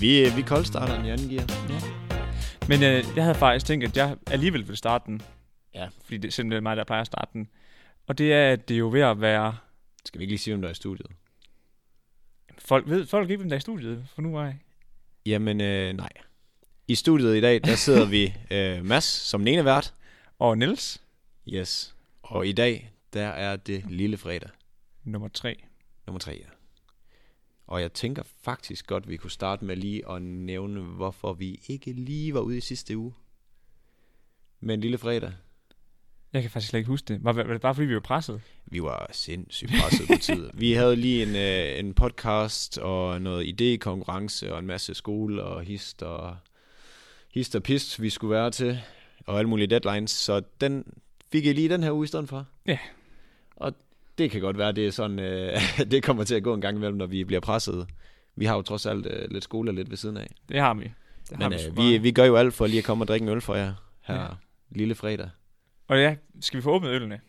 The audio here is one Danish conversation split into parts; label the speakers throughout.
Speaker 1: Vi, øh, vi koldstarter den i anden gear.
Speaker 2: Men øh, jeg havde faktisk tænkt, at jeg alligevel ville starte den.
Speaker 1: Ja.
Speaker 2: Fordi det er simpelthen mig, der plejer at starte den. Og det er, at det er jo ved at være...
Speaker 1: Skal vi ikke lige sige, hvem der er i studiet?
Speaker 2: Folk ved folk ved ikke, hvem der er i studiet for nu af.
Speaker 1: Jamen, øh, nej. I studiet i dag, der sidder vi øh, Mads som den ene vært.
Speaker 2: Og Niels,
Speaker 1: Yes. Og i dag, der er det lille fredag.
Speaker 2: nummer tre.
Speaker 1: Nummer tre, ja. Og jeg tænker faktisk godt, vi kunne starte med lige at nævne, hvorfor vi ikke lige var ude i sidste uge. Men lille fredag,
Speaker 2: Jeg kan faktisk slet ikke huske det. Var, var det bare fordi, vi var presset?
Speaker 1: vi var sindssygt presset på tid. Vi havde lige en, øh, en podcast og noget idékonkurrence og en masse skole og hist og, hist og pist, vi skulle være til. Og alle mulige deadlines, så den fik jeg lige den her uge i stedet for.
Speaker 2: Ja.
Speaker 1: Og det kan godt være, det er sådan, øh, det kommer til at gå en gang imellem, når vi bliver presset. Vi har jo trods alt øh, lidt skole og lidt ved siden af.
Speaker 2: Det har vi. Det har
Speaker 1: Men
Speaker 2: sgu
Speaker 1: øh,
Speaker 2: bare.
Speaker 1: vi, vi gør jo alt for lige at komme og drikke en øl for jer her
Speaker 2: Ja.
Speaker 1: ja. lille fredag.
Speaker 2: Og ja, skal vi få åbnet ølene?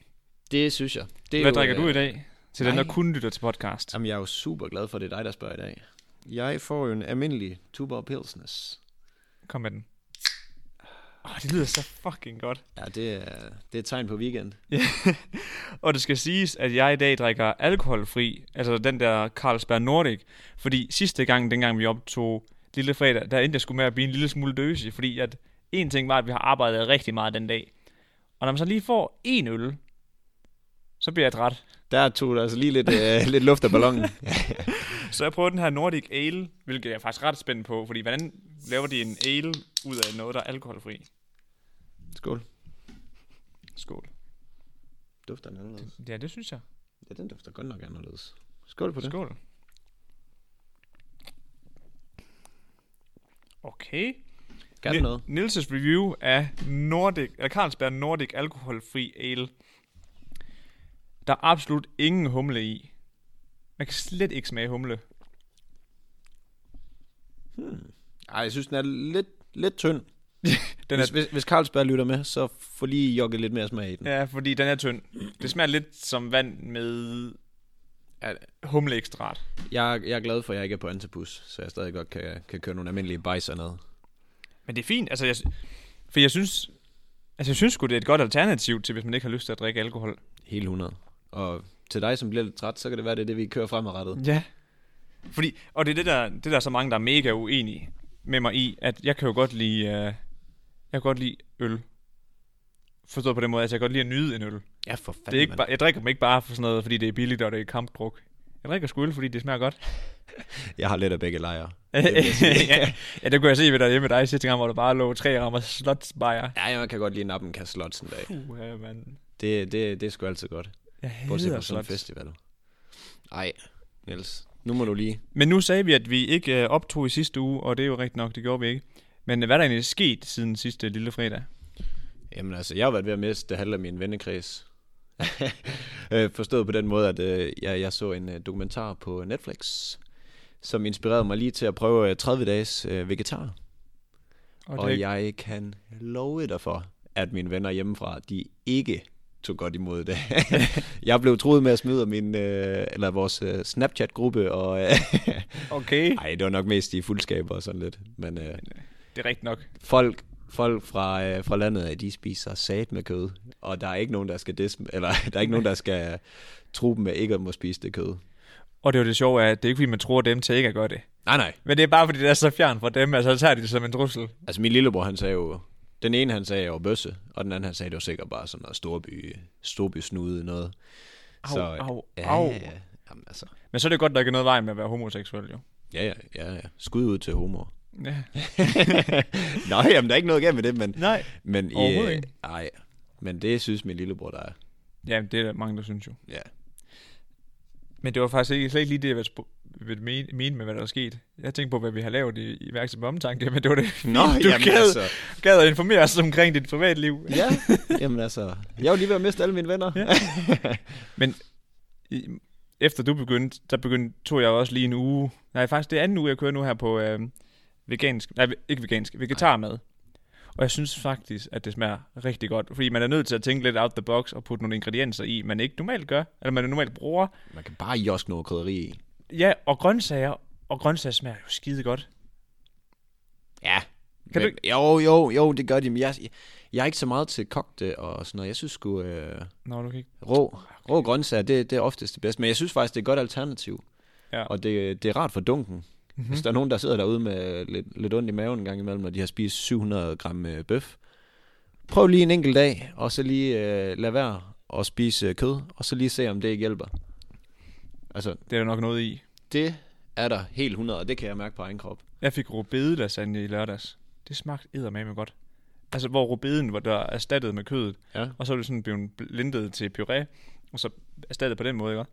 Speaker 1: Det synes jeg. Det er
Speaker 2: Hvad
Speaker 1: jo,
Speaker 2: drikker
Speaker 1: øh,
Speaker 2: du i dag? Til den,
Speaker 1: nej.
Speaker 2: der kun lytter til podcast.
Speaker 1: Jamen, jeg er jo super glad for, at det er dig, der spørger i dag. Jeg får jo en almindelig Tuborg Pilsnes.
Speaker 2: Kom med den. Åh, det lyder så fucking godt.
Speaker 1: Ja, det er, det er et tegn på weekend.
Speaker 2: Og det skal siges, at jeg i dag drikker alkoholfri, altså den der Carlsberg Nordic, fordi sidste gang, dengang vi optog lille fredag, der endte jeg skulle med at blive en lille smule døsig, fordi at en ting var, at vi har arbejdet rigtig meget den dag. Og når man så lige får en øl, så bliver jeg træt.
Speaker 1: Der tog der altså lige lidt, øh, lidt luft af ballonen.
Speaker 2: Så jeg prøver den her Nordic Ale, hvilket jeg er faktisk ret spændt på, fordi hvordan laver de en ale ud af noget, der er alkoholfri?
Speaker 1: Skål.
Speaker 2: Skål.
Speaker 1: Dufter den anderledes?
Speaker 2: Ja, det synes jeg.
Speaker 1: Ja, den dufter godt nok anderledes. Skål på det.
Speaker 2: Skål. Okay.
Speaker 1: Kan den noget?
Speaker 2: Nils' review af Nordic, eller Carlsberg Nordic alkoholfri ale. Der er absolut ingen humle i. Man kan slet ikke smage humle.
Speaker 1: Ej, jeg synes, den er lidt, lidt tynd.
Speaker 2: Den
Speaker 1: Den
Speaker 2: er,
Speaker 1: er... hvis, hvis Carlsberg lytter med, så får lige jogget lidt mere smag i den.
Speaker 2: ja, fordi den er tynd. Det smager lidt som vand med
Speaker 1: Ja.
Speaker 2: humleekstrat.
Speaker 1: Jeg, jeg er glad for, at jeg ikke er på antipus, så jeg stadig godt kan, kan køre nogle almindelige bajser ned.
Speaker 2: Men det er fint, altså jeg, for jeg synes, altså jeg synes sgu, det er et godt alternativ til, hvis man ikke har lyst til at drikke alkohol.
Speaker 1: Hele 100. Og til dig, som bliver lidt træt, så kan det være, det er det, vi kører fremadrettet.
Speaker 2: Ja. Fordi, og det er det der, det der er så mange, der er mega uenige med mig i, at jeg kan jo godt lide, øh, jeg kan godt lide øl. Forstået på den måde, at jeg kan godt lide at nyde en øl. Det
Speaker 1: Ja, for fanden,
Speaker 2: er ikke
Speaker 1: mand.
Speaker 2: bare, jeg drikker dem ikke bare for sådan noget, fordi det er billigt, og det er kampdruk. Jeg drikker sgu øl, fordi det smager godt.
Speaker 1: Jeg har lidt af begge lejre.
Speaker 2: ja, ja, det kunne jeg se ved dig hjemme med dig sidste gang, hvor der bare lå tre rammer slotsbajer.
Speaker 1: Ja, jeg kan godt lide nappen kan slots en dag.
Speaker 2: Uha, mand.
Speaker 1: Det, det, det er sgu altid godt.
Speaker 2: Jeg
Speaker 1: Prøv at se
Speaker 2: hader
Speaker 1: på sådan en
Speaker 2: slots.
Speaker 1: festival. Ej, Niels. Nu må du lige.
Speaker 2: Men nu sagde vi, at vi ikke øh, optog i sidste uge, og det er jo rigtigt nok, det gjorde vi ikke. Men øh, hvad er der egentlig sket siden sidste lille fredag?
Speaker 1: Jamen altså, jeg har været ved at miste det halve af min vennekreds. Øh, Forstået på den måde, at øh, jeg, jeg så en øh, dokumentar på Netflix, som inspirerede mig lige til at prøve øh, 30 dages øh, vegetar. Og,
Speaker 2: Og, det,
Speaker 1: og jeg kan love dig for, at mine venner hjemmefra, de ikke tog godt imod det. jeg blev truet med at smide min, øh, eller vores øh, Snapchat-gruppe, og øh,
Speaker 2: okay.
Speaker 1: ej, det var nok mest i fuldskaber og sådan lidt. Men øh,
Speaker 2: Det er rigtigt nok.
Speaker 1: folk, folk fra, øh, fra landet, af, de spiser sat med kød, og der er ikke nogen, der skal, dis- eller, der er ikke nogen, der skal true dem med ikke at må spise det kød.
Speaker 2: Og det er jo det sjove, at det er ikke fordi, man tror dem til ikke at gøre det.
Speaker 1: Nej, nej.
Speaker 2: Men det er bare fordi, det er så fjern fra dem, altså så tager de det som en trussel.
Speaker 1: Altså min lillebror, han sagde jo, den ene han sagde, jeg var bøsse, og den anden han sagde, det var sikkert bare sådan noget storby, storby snude noget.
Speaker 2: Au, au,
Speaker 1: ja,
Speaker 2: au.
Speaker 1: Ja, ja. Jamen, altså,
Speaker 2: Men så er det godt, der ikke er noget vej med at være homoseksuel, jo.
Speaker 1: ja, ja, ja, ja. Skud ud til homoer.
Speaker 2: Ja.
Speaker 1: Nå, jamen, der er ikke noget galt med det, men...
Speaker 2: Nej.
Speaker 1: men øh,
Speaker 2: Overhovedet ikke.
Speaker 1: Ej, men det synes min lillebror, der er.
Speaker 2: Ja, det er der mange, der synes jo.
Speaker 1: Ja.
Speaker 2: Men det var faktisk ikke, slet ikke lige det, jeg ville sp- ville mene, mene med, hvad der er sket. Jeg tænkte på, hvad vi har lavet i, i værksted med omtanke, men det var det.
Speaker 1: Nå, altså.
Speaker 2: du gad, gad at informere os omkring dit privatliv.
Speaker 1: Ja, jamen altså. Jeg var lige ved at miste alle mine venner.
Speaker 2: Ja. Men i, efter du begyndte, der begyndte, tog jeg også lige en uge. Nej, faktisk det er anden uge, jeg kører nu her på øh, vegansk, nej, ikke vegansk, vegetarmad. Og jeg synes faktisk, at det smager rigtig godt, fordi man er nødt til at tænke lidt out the box og putte nogle ingredienser i, man ikke normalt gør, eller man normalt bruger.
Speaker 1: Man kan bare joske noget krydderi i.
Speaker 2: Ja, og grøntsager, og grøntsager smager jo skide godt.
Speaker 1: Ja.
Speaker 2: Kan
Speaker 1: Kan
Speaker 2: du
Speaker 1: men, du... Jo, jo, jo, det gør de. Men jeg, jeg er ikke så meget til kogte og sådan noget. Jeg synes sgu, øh,
Speaker 2: Nå, du kan ikke.
Speaker 1: rå, rå grøntsager, det, det er oftest det bedste. Men jeg synes faktisk, det er et godt alternativ.
Speaker 2: Ja.
Speaker 1: Og det, det er rart for dunken. Mm-hmm. Hvis der er nogen, der sidder derude med lidt, lidt ondt i maven en gang imellem, når de har spist 700 gram øh, bøf. Prøv lige en enkelt dag, og så lige øh, lad være at spise øh, kød, og så lige se, om det ikke hjælper. Altså,
Speaker 2: Det er der nok noget i.
Speaker 1: det er der helt 100, og det kan jeg mærke på egen krop.
Speaker 2: Jeg fik rubedelasagne i lørdags. Det smagte eddermame godt. Altså, hvor rubeden var der erstattet med kødet,
Speaker 1: Ja.
Speaker 2: og så er det sådan blevet blendet til puré, og så erstattet på den måde, ikke?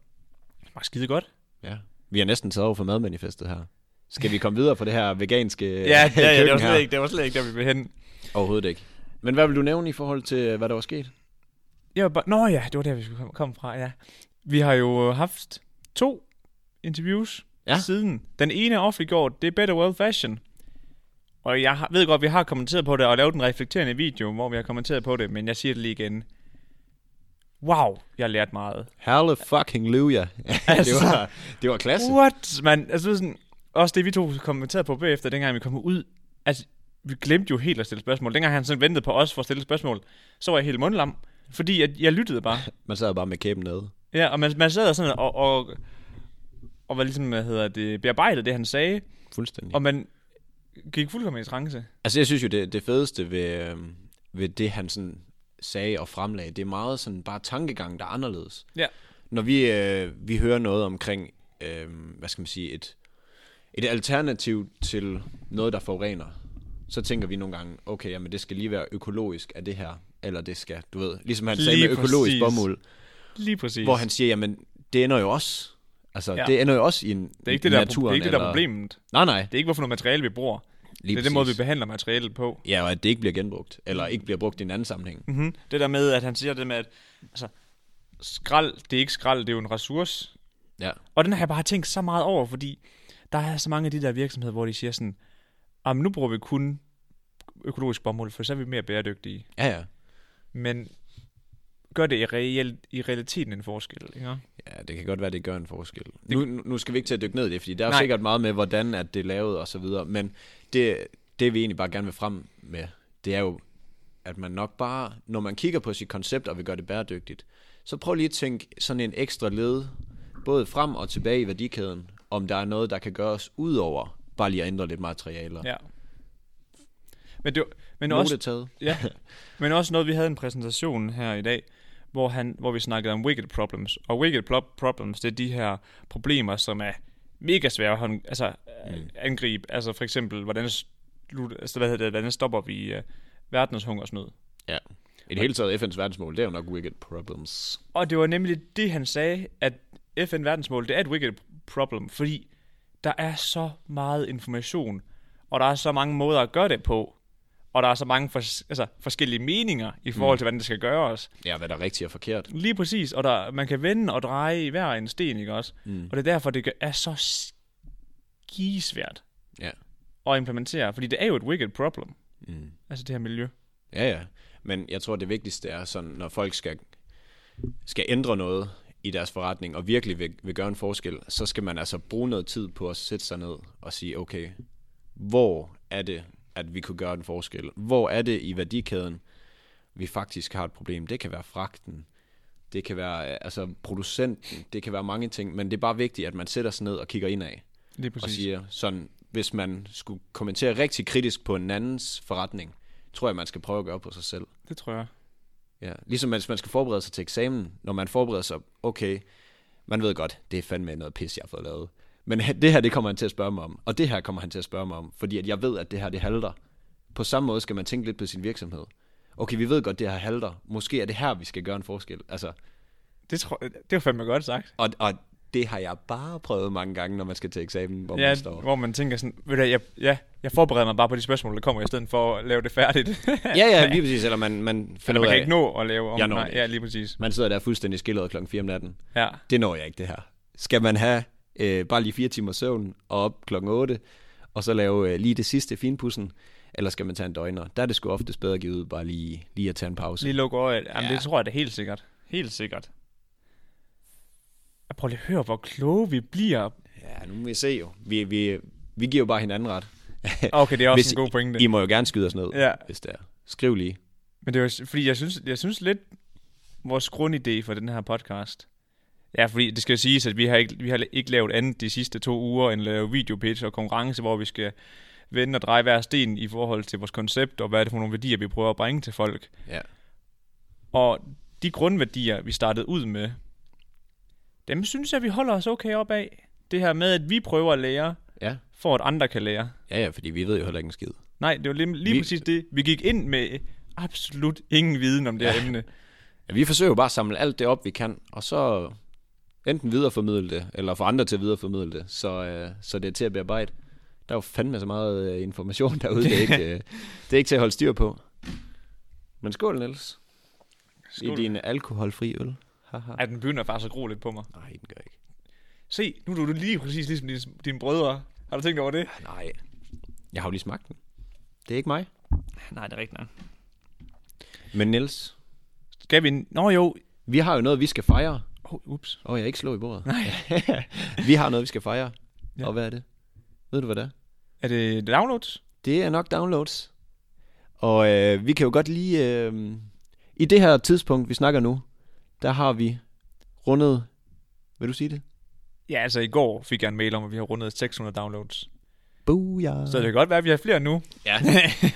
Speaker 2: Det smagte skide godt.
Speaker 1: ja. Vi har næsten taget over for madmanifestet her. Skal vi komme videre fra det her veganske øh,
Speaker 2: Ja, ja, ja det, var
Speaker 1: køkken her?
Speaker 2: slet ikke, det var slet ikke der, vi ville hen.
Speaker 1: Overhovedet ikke. Men hvad vil du nævne i forhold til, øh, hvad der var sket?
Speaker 2: Jeg var bare, Nå ja, det var der, vi skulle komme- komme fra, ja. Vi har jo øh, haft to interviews
Speaker 1: Ja.
Speaker 2: siden. Den ene er offentliggjort, det er Better World Fashion. Og jeg har, ved godt, vi har kommenteret på det og lavet en reflekterende video, hvor vi har kommenteret på det, men jeg siger det lige igen. Wow, jeg har lært meget.
Speaker 1: Halle fucking Luja. det,
Speaker 2: Altså.
Speaker 1: var, det var klasse.
Speaker 2: What, man? Altså, det er sådan, også det, vi to kommenterede på bagefter, dengang vi kom ud. Altså, vi glemte jo helt at stille spørgsmål. Dengang han sådan ventede på os for at stille spørgsmål, så var jeg helt mundlam. Fordi jeg, jeg lyttede bare.
Speaker 1: Man sad bare med kæben nede.
Speaker 2: Ja, og man, man sad og sådan og, og, og var ligesom, hvad hedder det, bearbejdet det, han sagde,
Speaker 1: Fuldstændig.
Speaker 2: og man gik fuldkommen i trance.
Speaker 1: Altså, jeg synes jo, det, det fedeste ved, øh, ved det, han sådan sagde og fremlagde, det er meget sådan bare tankegang, der er anderledes.
Speaker 2: Ja.
Speaker 1: Når vi, øh, vi hører noget omkring, øh, hvad skal man sige, et, et alternativ til noget, der forurener, så tænker vi nogle gange, okay, jamen det skal lige være økologisk af det her, eller det skal, du ved, ligesom han sagde
Speaker 2: Lige
Speaker 1: med økologisk
Speaker 2: præcis.
Speaker 1: bomuld,
Speaker 2: Lige præcis.
Speaker 1: hvor han siger, jamen det ender jo også, altså
Speaker 2: Ja.
Speaker 1: ja. det ender jo også i en
Speaker 2: det er ikke det, der, er pro- det,
Speaker 1: naturen,
Speaker 2: er ikke det, der er
Speaker 1: eller-
Speaker 2: problemet.
Speaker 1: Nej, nej.
Speaker 2: Det er ikke, hvorfor noget materiale vi bruger.
Speaker 1: Lige
Speaker 2: det er den måde, vi
Speaker 1: præcis.
Speaker 2: behandler materialet på.
Speaker 1: Ja, og at det ikke bliver genbrugt, eller ikke bliver brugt i en anden sammenhæng.
Speaker 2: Mm-hmm. Det der med, at han siger det med, at altså, skrald, det er ikke skrald, det er jo en ressource.
Speaker 1: Ja.
Speaker 2: Og den har jeg bare tænkt så meget over, fordi der er så mange af de der virksomheder, hvor de siger sådan, "Jamen, nu bruger vi kun økologisk bomuld, for så er vi mere bæredygtige.
Speaker 1: Ja, ja.
Speaker 2: Men gør det i, reelt, i realiteten en forskel, ikke?
Speaker 1: Ja, det kan godt være, det gør en forskel. Nu, nu skal vi ikke til at dykke ned i det, fordi der er jo
Speaker 2: Nej.
Speaker 1: sikkert meget med, hvordan at det er lavet og så videre, men det, det vi egentlig bare gerne vil frem med, det er jo, at man nok bare, når man kigger på sit koncept og vil gøre det bæredygtigt, så prøv lige at tænke sådan en ekstra led, både frem og tilbage i værdikæden, om der er noget, der kan gøres ud over bare lige at ændre lidt materialer. Ja,
Speaker 2: Ja. Men, det, var- men, også,
Speaker 1: Note
Speaker 2: ja, men også noget, vi havde en præsentation her i dag, hvor, han, hvor vi snakkede om wicked problems. Og wicked pro- problems, det er de her problemer, som er mega svære at hånd, altså, mm. angribe. Altså for eksempel, hvordan, slut, altså, hvad hedder det, hvordan stopper vi uh, verdens hungersnød?
Speaker 1: ja. I det hele taget FN's verdensmål, det er jo nok wicked problems.
Speaker 2: Og det var nemlig det, han sagde, at FN verdensmål, det er et wicked problem, fordi der er så meget information, og der er så mange måder at gøre det på, og der er så mange fors- altså, forskellige meninger i forhold til, hvordan det skal gøres.
Speaker 1: Ja, hvad der er rigtigt og forkert.
Speaker 2: Lige præcis, og der, man kan vende og dreje i hver en sten, ikke også? Mm. Og det er derfor, det gør- er så skisvært
Speaker 1: Ja.
Speaker 2: at implementere, fordi det er jo et wicked problem,
Speaker 1: Mm.
Speaker 2: altså det her miljø.
Speaker 1: Ja, ja. Men jeg tror, det vigtigste er sådan, når folk skal, skal ændre noget i deres forretning, og virkelig vil, vil gøre en forskel, så skal man altså bruge noget tid på at sætte sig ned og sige, okay, hvor er det, at vi kunne gøre en forskel? Hvor er det i værdikæden, vi faktisk har et problem? Det kan være fragten, det kan være øh, altså, producenten, det kan være mange ting, men det er bare vigtigt, at man sætter sig ned og kigger indad
Speaker 2: Lige
Speaker 1: og
Speaker 2: præcis.
Speaker 1: siger sådan, hvis man skulle kommentere rigtig kritisk på en andens forretning, tror jeg, man skal prøve at gøre på sig selv.
Speaker 2: Det tror jeg.
Speaker 1: Ja. Ligesom hvis man skal forberede sig til eksamen, når man forbereder sig, okay, man ved godt, det er fandme noget pis, jeg har fået lavet. Men det her, det kommer han til at spørge mig om, og det her kommer han til at spørge mig om, fordi at jeg ved, at det her, det halter. På samme måde skal man tænke lidt på sin virksomhed. Okay, vi ved godt, det her halter. Måske er det her, vi skal gøre en forskel. Altså,
Speaker 2: Det, tror, det var fandme godt sagt.
Speaker 1: og, og det har jeg bare prøvet mange gange, når man skal til eksamen, hvor
Speaker 2: Ja,
Speaker 1: man står.
Speaker 2: hvor man tænker sådan, ved du, hvad, jeg, ja, jeg forbereder mig bare på de spørgsmål, der kommer, i stedet for at lave det færdigt.
Speaker 1: Ja, ja, lige præcis. Eller man, man finder
Speaker 2: Eller man
Speaker 1: ud
Speaker 2: kan
Speaker 1: af,
Speaker 2: ikke nå at lave om.
Speaker 1: Jeg når det
Speaker 2: nej,
Speaker 1: ikke.
Speaker 2: ja, lige præcis.
Speaker 1: Man sidder der fuldstændig skildret klokken 4 om natten.
Speaker 2: Ja.
Speaker 1: Det når jeg ikke, det her. Skal man have øh, bare lige 4 timer søvn og op klokken 8, og så lave øh, lige det sidste finpussen, eller skal man tage en døgner? Der er det sgu oftest bedre at give ud bare lige, lige at tage en pause.
Speaker 2: Lige lukke øjet. Jamen, ja.
Speaker 1: Ja.
Speaker 2: det tror jeg da helt sikkert. Helt sikkert. Jeg prøver lige at høre, hvor kloge vi bliver.
Speaker 1: Ja, nu må vi se jo. Vi, vi, vi giver jo bare hinanden ret.
Speaker 2: Okay, det er også
Speaker 1: Hvis
Speaker 2: en god pointe.
Speaker 1: I må jo gerne skyde os ned,
Speaker 2: Ja.
Speaker 1: hvis det er. Skriv lige.
Speaker 2: Men det var, s- fordi jeg synes, jeg synes lidt, vores grundidé for den her podcast, ja, fordi det skal jo siges, at vi har ikke, vi har ikke lavet andet de sidste to uger, end lave videopitch og konkurrence, hvor vi skal vende og dreje hver sten i forhold til vores koncept, og hvad er det for nogle værdier, vi prøver at bringe til folk.
Speaker 1: Ja.
Speaker 2: Og de grundværdier, vi startede ud med, dem synes jeg, vi holder os okay op af. Det her med, at vi prøver at lære,
Speaker 1: Ja,
Speaker 2: for at andre kan lære.
Speaker 1: ja, ja fordi vi ved jo heller ikke en skid.
Speaker 2: Nej, det var lige, lige
Speaker 1: Vi-
Speaker 2: vi... præcis det. Vi gik ind med absolut ingen viden om det her emne.
Speaker 1: Ja, vi forsøger jo bare at samle alt det op, vi kan, og så enten videreformidle det, eller få andre til at videreformidle det, så, øh, så det er til at bearbejde. Der er jo fandme så meget øh, information derude, det er, ikke, øh, det er ikke til at holde styr på. Men skål, Niels. I din alkoholfri øl. Haha.
Speaker 2: Ej, den begynder faktisk at gro lidt på mig.
Speaker 1: Nej, den gør ikke.
Speaker 2: Se, nu er du lige præcis ligesom dine, dine brødre. Har du tænkt over det?
Speaker 1: Nej. Jeg har jo lige smagt den. Det er ikke mig.
Speaker 2: Nej, det er rigtigt.
Speaker 1: Men Niels,
Speaker 2: Skal vi... en- Nå jo.
Speaker 1: vi har jo noget, vi skal fejre.
Speaker 2: Oh, ups.
Speaker 1: Åh, oh, jeg er ikke slå i bordet.
Speaker 2: Nej.
Speaker 1: vi har noget, vi skal fejre. Ja.
Speaker 2: Ja.
Speaker 1: Og hvad er det? Ved du, hvad det er?
Speaker 2: Er det downloads?
Speaker 1: Det er nok downloads. Og øh, vi kan jo godt lige... Øh, I det her tidspunkt, vi snakker nu, der har vi rundet... Vil du sige det?
Speaker 2: Ja, altså i går fik jeg en mail om, at vi har rundet 600 downloads.
Speaker 1: Booyah.
Speaker 2: Så det kan godt være, at vi har flere nu.
Speaker 1: Ja.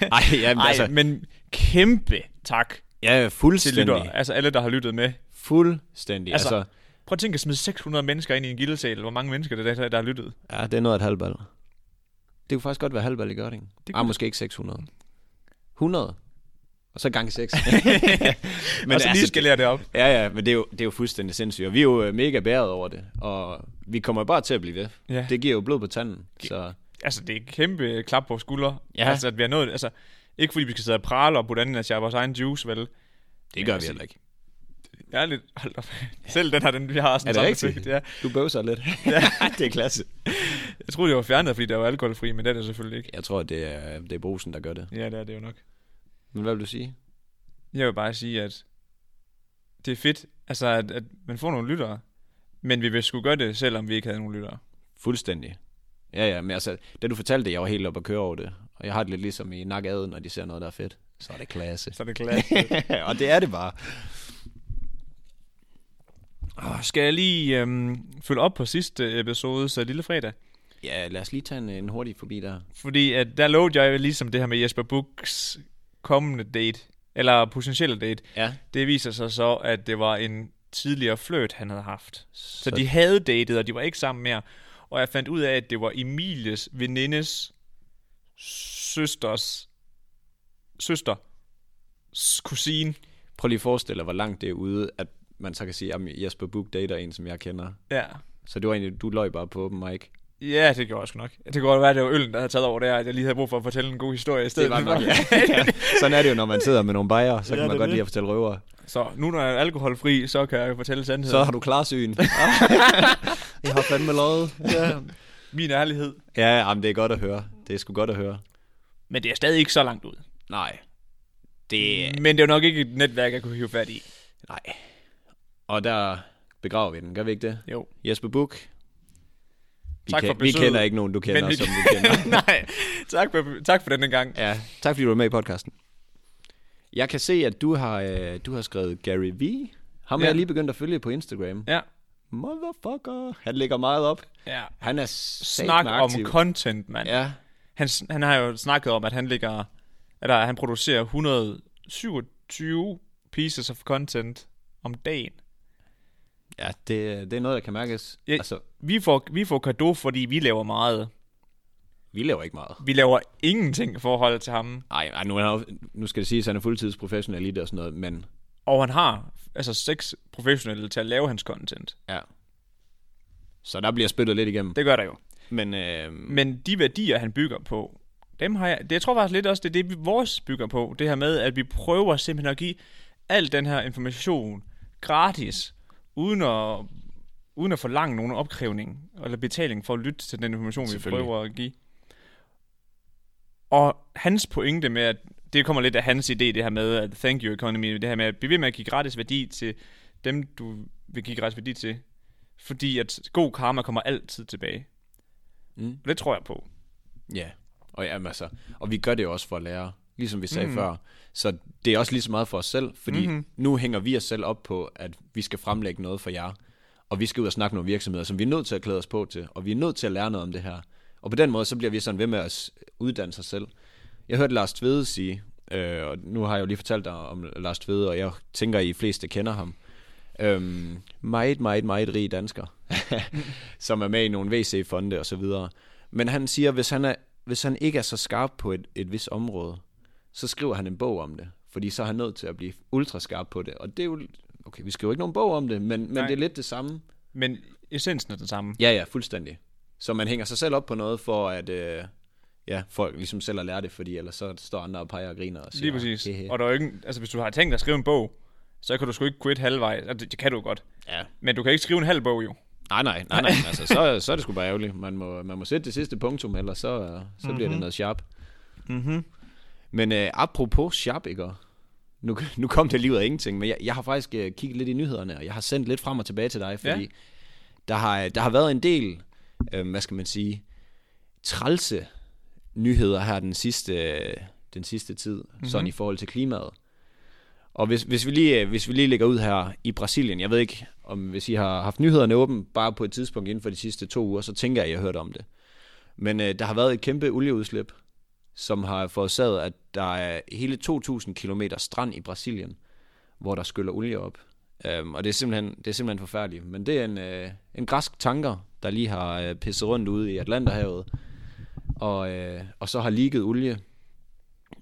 Speaker 1: Ej, jamen,
Speaker 2: Ej,
Speaker 1: altså,
Speaker 2: men kæmpe tak
Speaker 1: ja,
Speaker 2: til
Speaker 1: fuldstændig.
Speaker 2: lytter. Altså alle, der har lyttet med.
Speaker 1: Fuldstændig. Altså,
Speaker 2: Altså-
Speaker 1: altså,
Speaker 2: Prøv at tænke at smide 600 mennesker ind i en gildesal. Hvor mange mennesker det er, der har lyttet.
Speaker 1: ja, det er noget af et halvbal. Det kunne faktisk godt være halvbal i Gørding.
Speaker 2: Det
Speaker 1: Ah,
Speaker 2: kunne-
Speaker 1: måske ikke 600. 100. Og så gange 6.
Speaker 2: Men altså, lige skal lære det op.
Speaker 1: Ja, ja, men det er jo, det er jo fuldstændig sindssygt. Og vi er jo øh, mega bæret over det. Og vi kommer bare til at blive ved.
Speaker 2: Ja.
Speaker 1: Det giver jo blod på tanden. Så
Speaker 2: altså, det er et kæmpe klap på skuldre.
Speaker 1: Ja.
Speaker 2: Ja. Altså, at vi har nået, altså, ikke fordi vi skal sidde og prale og putte ananas i vores egen juice, vel?
Speaker 1: det gør vi
Speaker 2: altså,
Speaker 1: heller ikke.
Speaker 2: Jeg er lidt, hold op. Selv den her, den vi har sådan
Speaker 1: Er det
Speaker 2: samme
Speaker 1: rigtigt?
Speaker 2: effekt, Ja.
Speaker 1: Du bøvser lidt. ja, det er klasse.
Speaker 2: Jeg troede, det var fjernet, fordi der var alkoholfri, men det er det selvfølgelig ikke.
Speaker 1: Jeg tror, det er, det er brusen, der gør det.
Speaker 2: Ja, det er det jo nok.
Speaker 1: Men hvad vil du sige?
Speaker 2: Jeg vil bare sige, at det er fedt, altså, at, at man får nogle lyttere, men vi vil skulle gøre det, selvom vi ikke havde nogen lyttere.
Speaker 1: Fuldstændig. Ja, ja, men altså, da du fortalte det, jeg var helt oppe at køre over det. Og jeg har det lidt ligesom i nakaden, når de ser noget, der er fedt. Så er det klasse.
Speaker 2: Så er det klart.
Speaker 1: og det er det bare.
Speaker 2: Åh, skal jeg lige øhm, følge op på sidste episode, så lille fredag?
Speaker 1: Ja, lad os lige tage en, en hurtig forbi der.
Speaker 2: Fordi at der lovede jeg ligesom det her med Jesper Buchs kommende date, eller potentielle date.
Speaker 1: Ja.
Speaker 2: Det viser sig så, at det var en tidligere fløjt, han havde haft. Så,
Speaker 1: Så-
Speaker 2: så de havde datet, og de var ikke sammen mere. Og jeg fandt ud af, at det var Emilies venindes søsters søster kusine.
Speaker 1: Prøv lige at forestille dig, hvor langt det er ude, at man så kan sige, at Jesper Buch dater en, som jeg kender.
Speaker 2: Ja.
Speaker 1: Så det var egentlig, du løj bare på open mic.
Speaker 2: Ja, det gjorde jeg sgu nok. Det kunne godt være, at det var øllen, der havde taget over der, at jeg lige havde brug for at fortælle en god historie i stedet.
Speaker 1: Det var
Speaker 2: for-
Speaker 1: nok, ja. Sådan er det jo, når man sidder med nogle bajere, så
Speaker 2: Ja,
Speaker 1: kan man
Speaker 2: det er
Speaker 1: godt
Speaker 2: det.
Speaker 1: lide at fortælle røver.
Speaker 2: så nu, når jeg er alkoholfri, så kan jeg fortælle sandheden.
Speaker 1: Så har du klarsyn. jeg har fandme lovet.
Speaker 2: ja. Min ærlighed.
Speaker 1: Ja, jamen, det er godt at høre. Det er sgu godt at høre.
Speaker 2: Men det er stadig ikke så langt ud.
Speaker 1: Nej. Det er...
Speaker 2: Mm. Men det er jo nok ikke et netværk, jeg kunne hive fat i.
Speaker 1: Nej. Og der begraver vi den, gør vi ikke det?
Speaker 2: Jo.
Speaker 1: Jesper Buch. Vi,
Speaker 2: Tak for
Speaker 1: vi
Speaker 2: besøget.
Speaker 1: kender ikke nogen, du kender,
Speaker 2: Men vi-
Speaker 1: som du kender.
Speaker 2: Nej, tak for, tak for denne gang.
Speaker 1: Ja, tak fordi du var med i podcasten. Jeg kan se, at du har, øh, du har skrevet Gary V. Ham ja.
Speaker 2: Ja.
Speaker 1: er jeg lige begyndt at følge på Instagram.
Speaker 2: Ja.
Speaker 1: Motherfucker. Han lægger meget op.
Speaker 2: ja.
Speaker 1: Han er
Speaker 2: Snak
Speaker 1: snak
Speaker 2: om
Speaker 1: aktiv.
Speaker 2: content, mand. Ja.
Speaker 1: Ja,
Speaker 2: Han, s- han har jo snakket om, at han ligger, eller han producerer 127 pieces of content om dagen.
Speaker 1: ja det, det er noget, der kan mærkes. Ja.
Speaker 2: Ja.
Speaker 1: Altså,
Speaker 2: Vi får, vi får kado, fordi vi laver meget.
Speaker 1: vi laver ikke meget.
Speaker 2: Vi laver ingenting i forhold til ham.
Speaker 1: Ej, ej nu, er han, jo- nu skal det siges, at han er fuldtidsprofessionel i det og sådan noget, men
Speaker 2: Og han har altså seks professionelle til at lave hans content.
Speaker 1: ja. Så der bliver spyttet lidt igennem.
Speaker 2: Det gør der jo.
Speaker 1: Men øh,
Speaker 2: Men de værdier, han bygger på, dem har jeg, det, jeg tror faktisk lidt også, det er det, vi vores bygger på. Det her med, at vi prøver simpelthen at give al den her information gratis, uden at, uden at forlange nogen opkrævning eller betaling for at lytte til den information, vi
Speaker 1: Selvfølgelig.
Speaker 2: prøver at give. Og hans pointe med, at det kommer lidt af hans idé, det her med, at thank you economy, det her med at blive ved med at give gratis værdi til dem, du vil give gratis værdi til. Fordi at god karma kommer altid tilbage.
Speaker 1: Mm.
Speaker 2: Og det tror jeg på.
Speaker 1: ja, og Og, jamen, altså, og vi gør det jo også for at lære, ligesom vi sagde
Speaker 2: Mhm.
Speaker 1: mm. før. Så det er også lige så meget for os selv, fordi
Speaker 2: Mhm.
Speaker 1: mm. nu hænger vi os selv op på, at vi skal fremlægge noget for jer, og vi skal ud og snakke med nogle virksomheder, som vi er nødt til at klæde os på til, og vi er nødt til at lære noget om det her. Og på den måde, så bliver vi sådan ved med at s- uddanne sig selv. Jeg hørte Lars Tvede sige, øh, og nu har jeg jo lige fortalt dig om Lars Tvede, og jeg tænker, at I fleste kender ham. Øhm, meget, meget, meget rig dansker, som er med i nogle VC-fonde og så videre. Men han siger, hvis han, er, hvis han ikke er så skarp på et, et vis område, så skriver han en bog om det. Fordi så er han nødt til at blive ultraskarp på det. Og det er jo... Okay, vi skriver ikke nogen bog om det, men, men
Speaker 2: Nej.
Speaker 1: det er lidt det samme.
Speaker 2: Men essensen er den samme.
Speaker 1: Ja, ja, fuldstændig. Så man hænger sig selv op på noget for, at øh, ja, folk ligesom selv at lære det, fordi ellers så står andre og peger og griner og siger...
Speaker 2: Lige præcis.
Speaker 1: Hehe.
Speaker 2: Og der er jo ikke, en- altså, hvis du har tænkt dig at skrive en bog, så kan du sgu ikke quit halvvejs. Altså, det, det kan du godt.
Speaker 1: Ja.
Speaker 2: Men du kan ikke skrive en halv bog, jo.
Speaker 1: Nej, nej, nej, nej. Altså, så, så er det sgu bare ærgerligt. Man må, man må sætte det sidste punktum, ellers så, øh, så mm-hmm. bliver det noget sharp.
Speaker 2: Mm-hmm.
Speaker 1: Men øh, apropos sharp, ikke? og- Nu, nu kom det lige ud af ingenting, men jeg, jeg har faktisk øh, kigget lidt i nyhederne, og jeg har sendt lidt frem og tilbage til dig, fordi
Speaker 2: Ja.
Speaker 1: ja. der, har, der har været en del, øh, hvad skal man sige, trælse nyheder her den sidste, øh, den sidste tid, mm-hmm. sådan i forhold til klimaet. Og hvis, hvis, vi lige, øh, hvis vi lige lægger ud her i Brasilien, jeg ved ikke, om hvis I har haft nyhederne åben bare på et tidspunkt inden for de sidste to uger, så tænker jeg, at I har hørt om det. Men øh, der har været et kæmpe olieudslip, som har forårsaget, at der er hele 2.000 km strand i Brasilien, hvor der skyller olie op. Um, og det er, simpelthen, det er simpelthen forfærdeligt. Men det er en, øh, en græsk tanker, der lige har øh, pisset rundt ude i Atlanterhavet, og, øh, og så har ligget olie.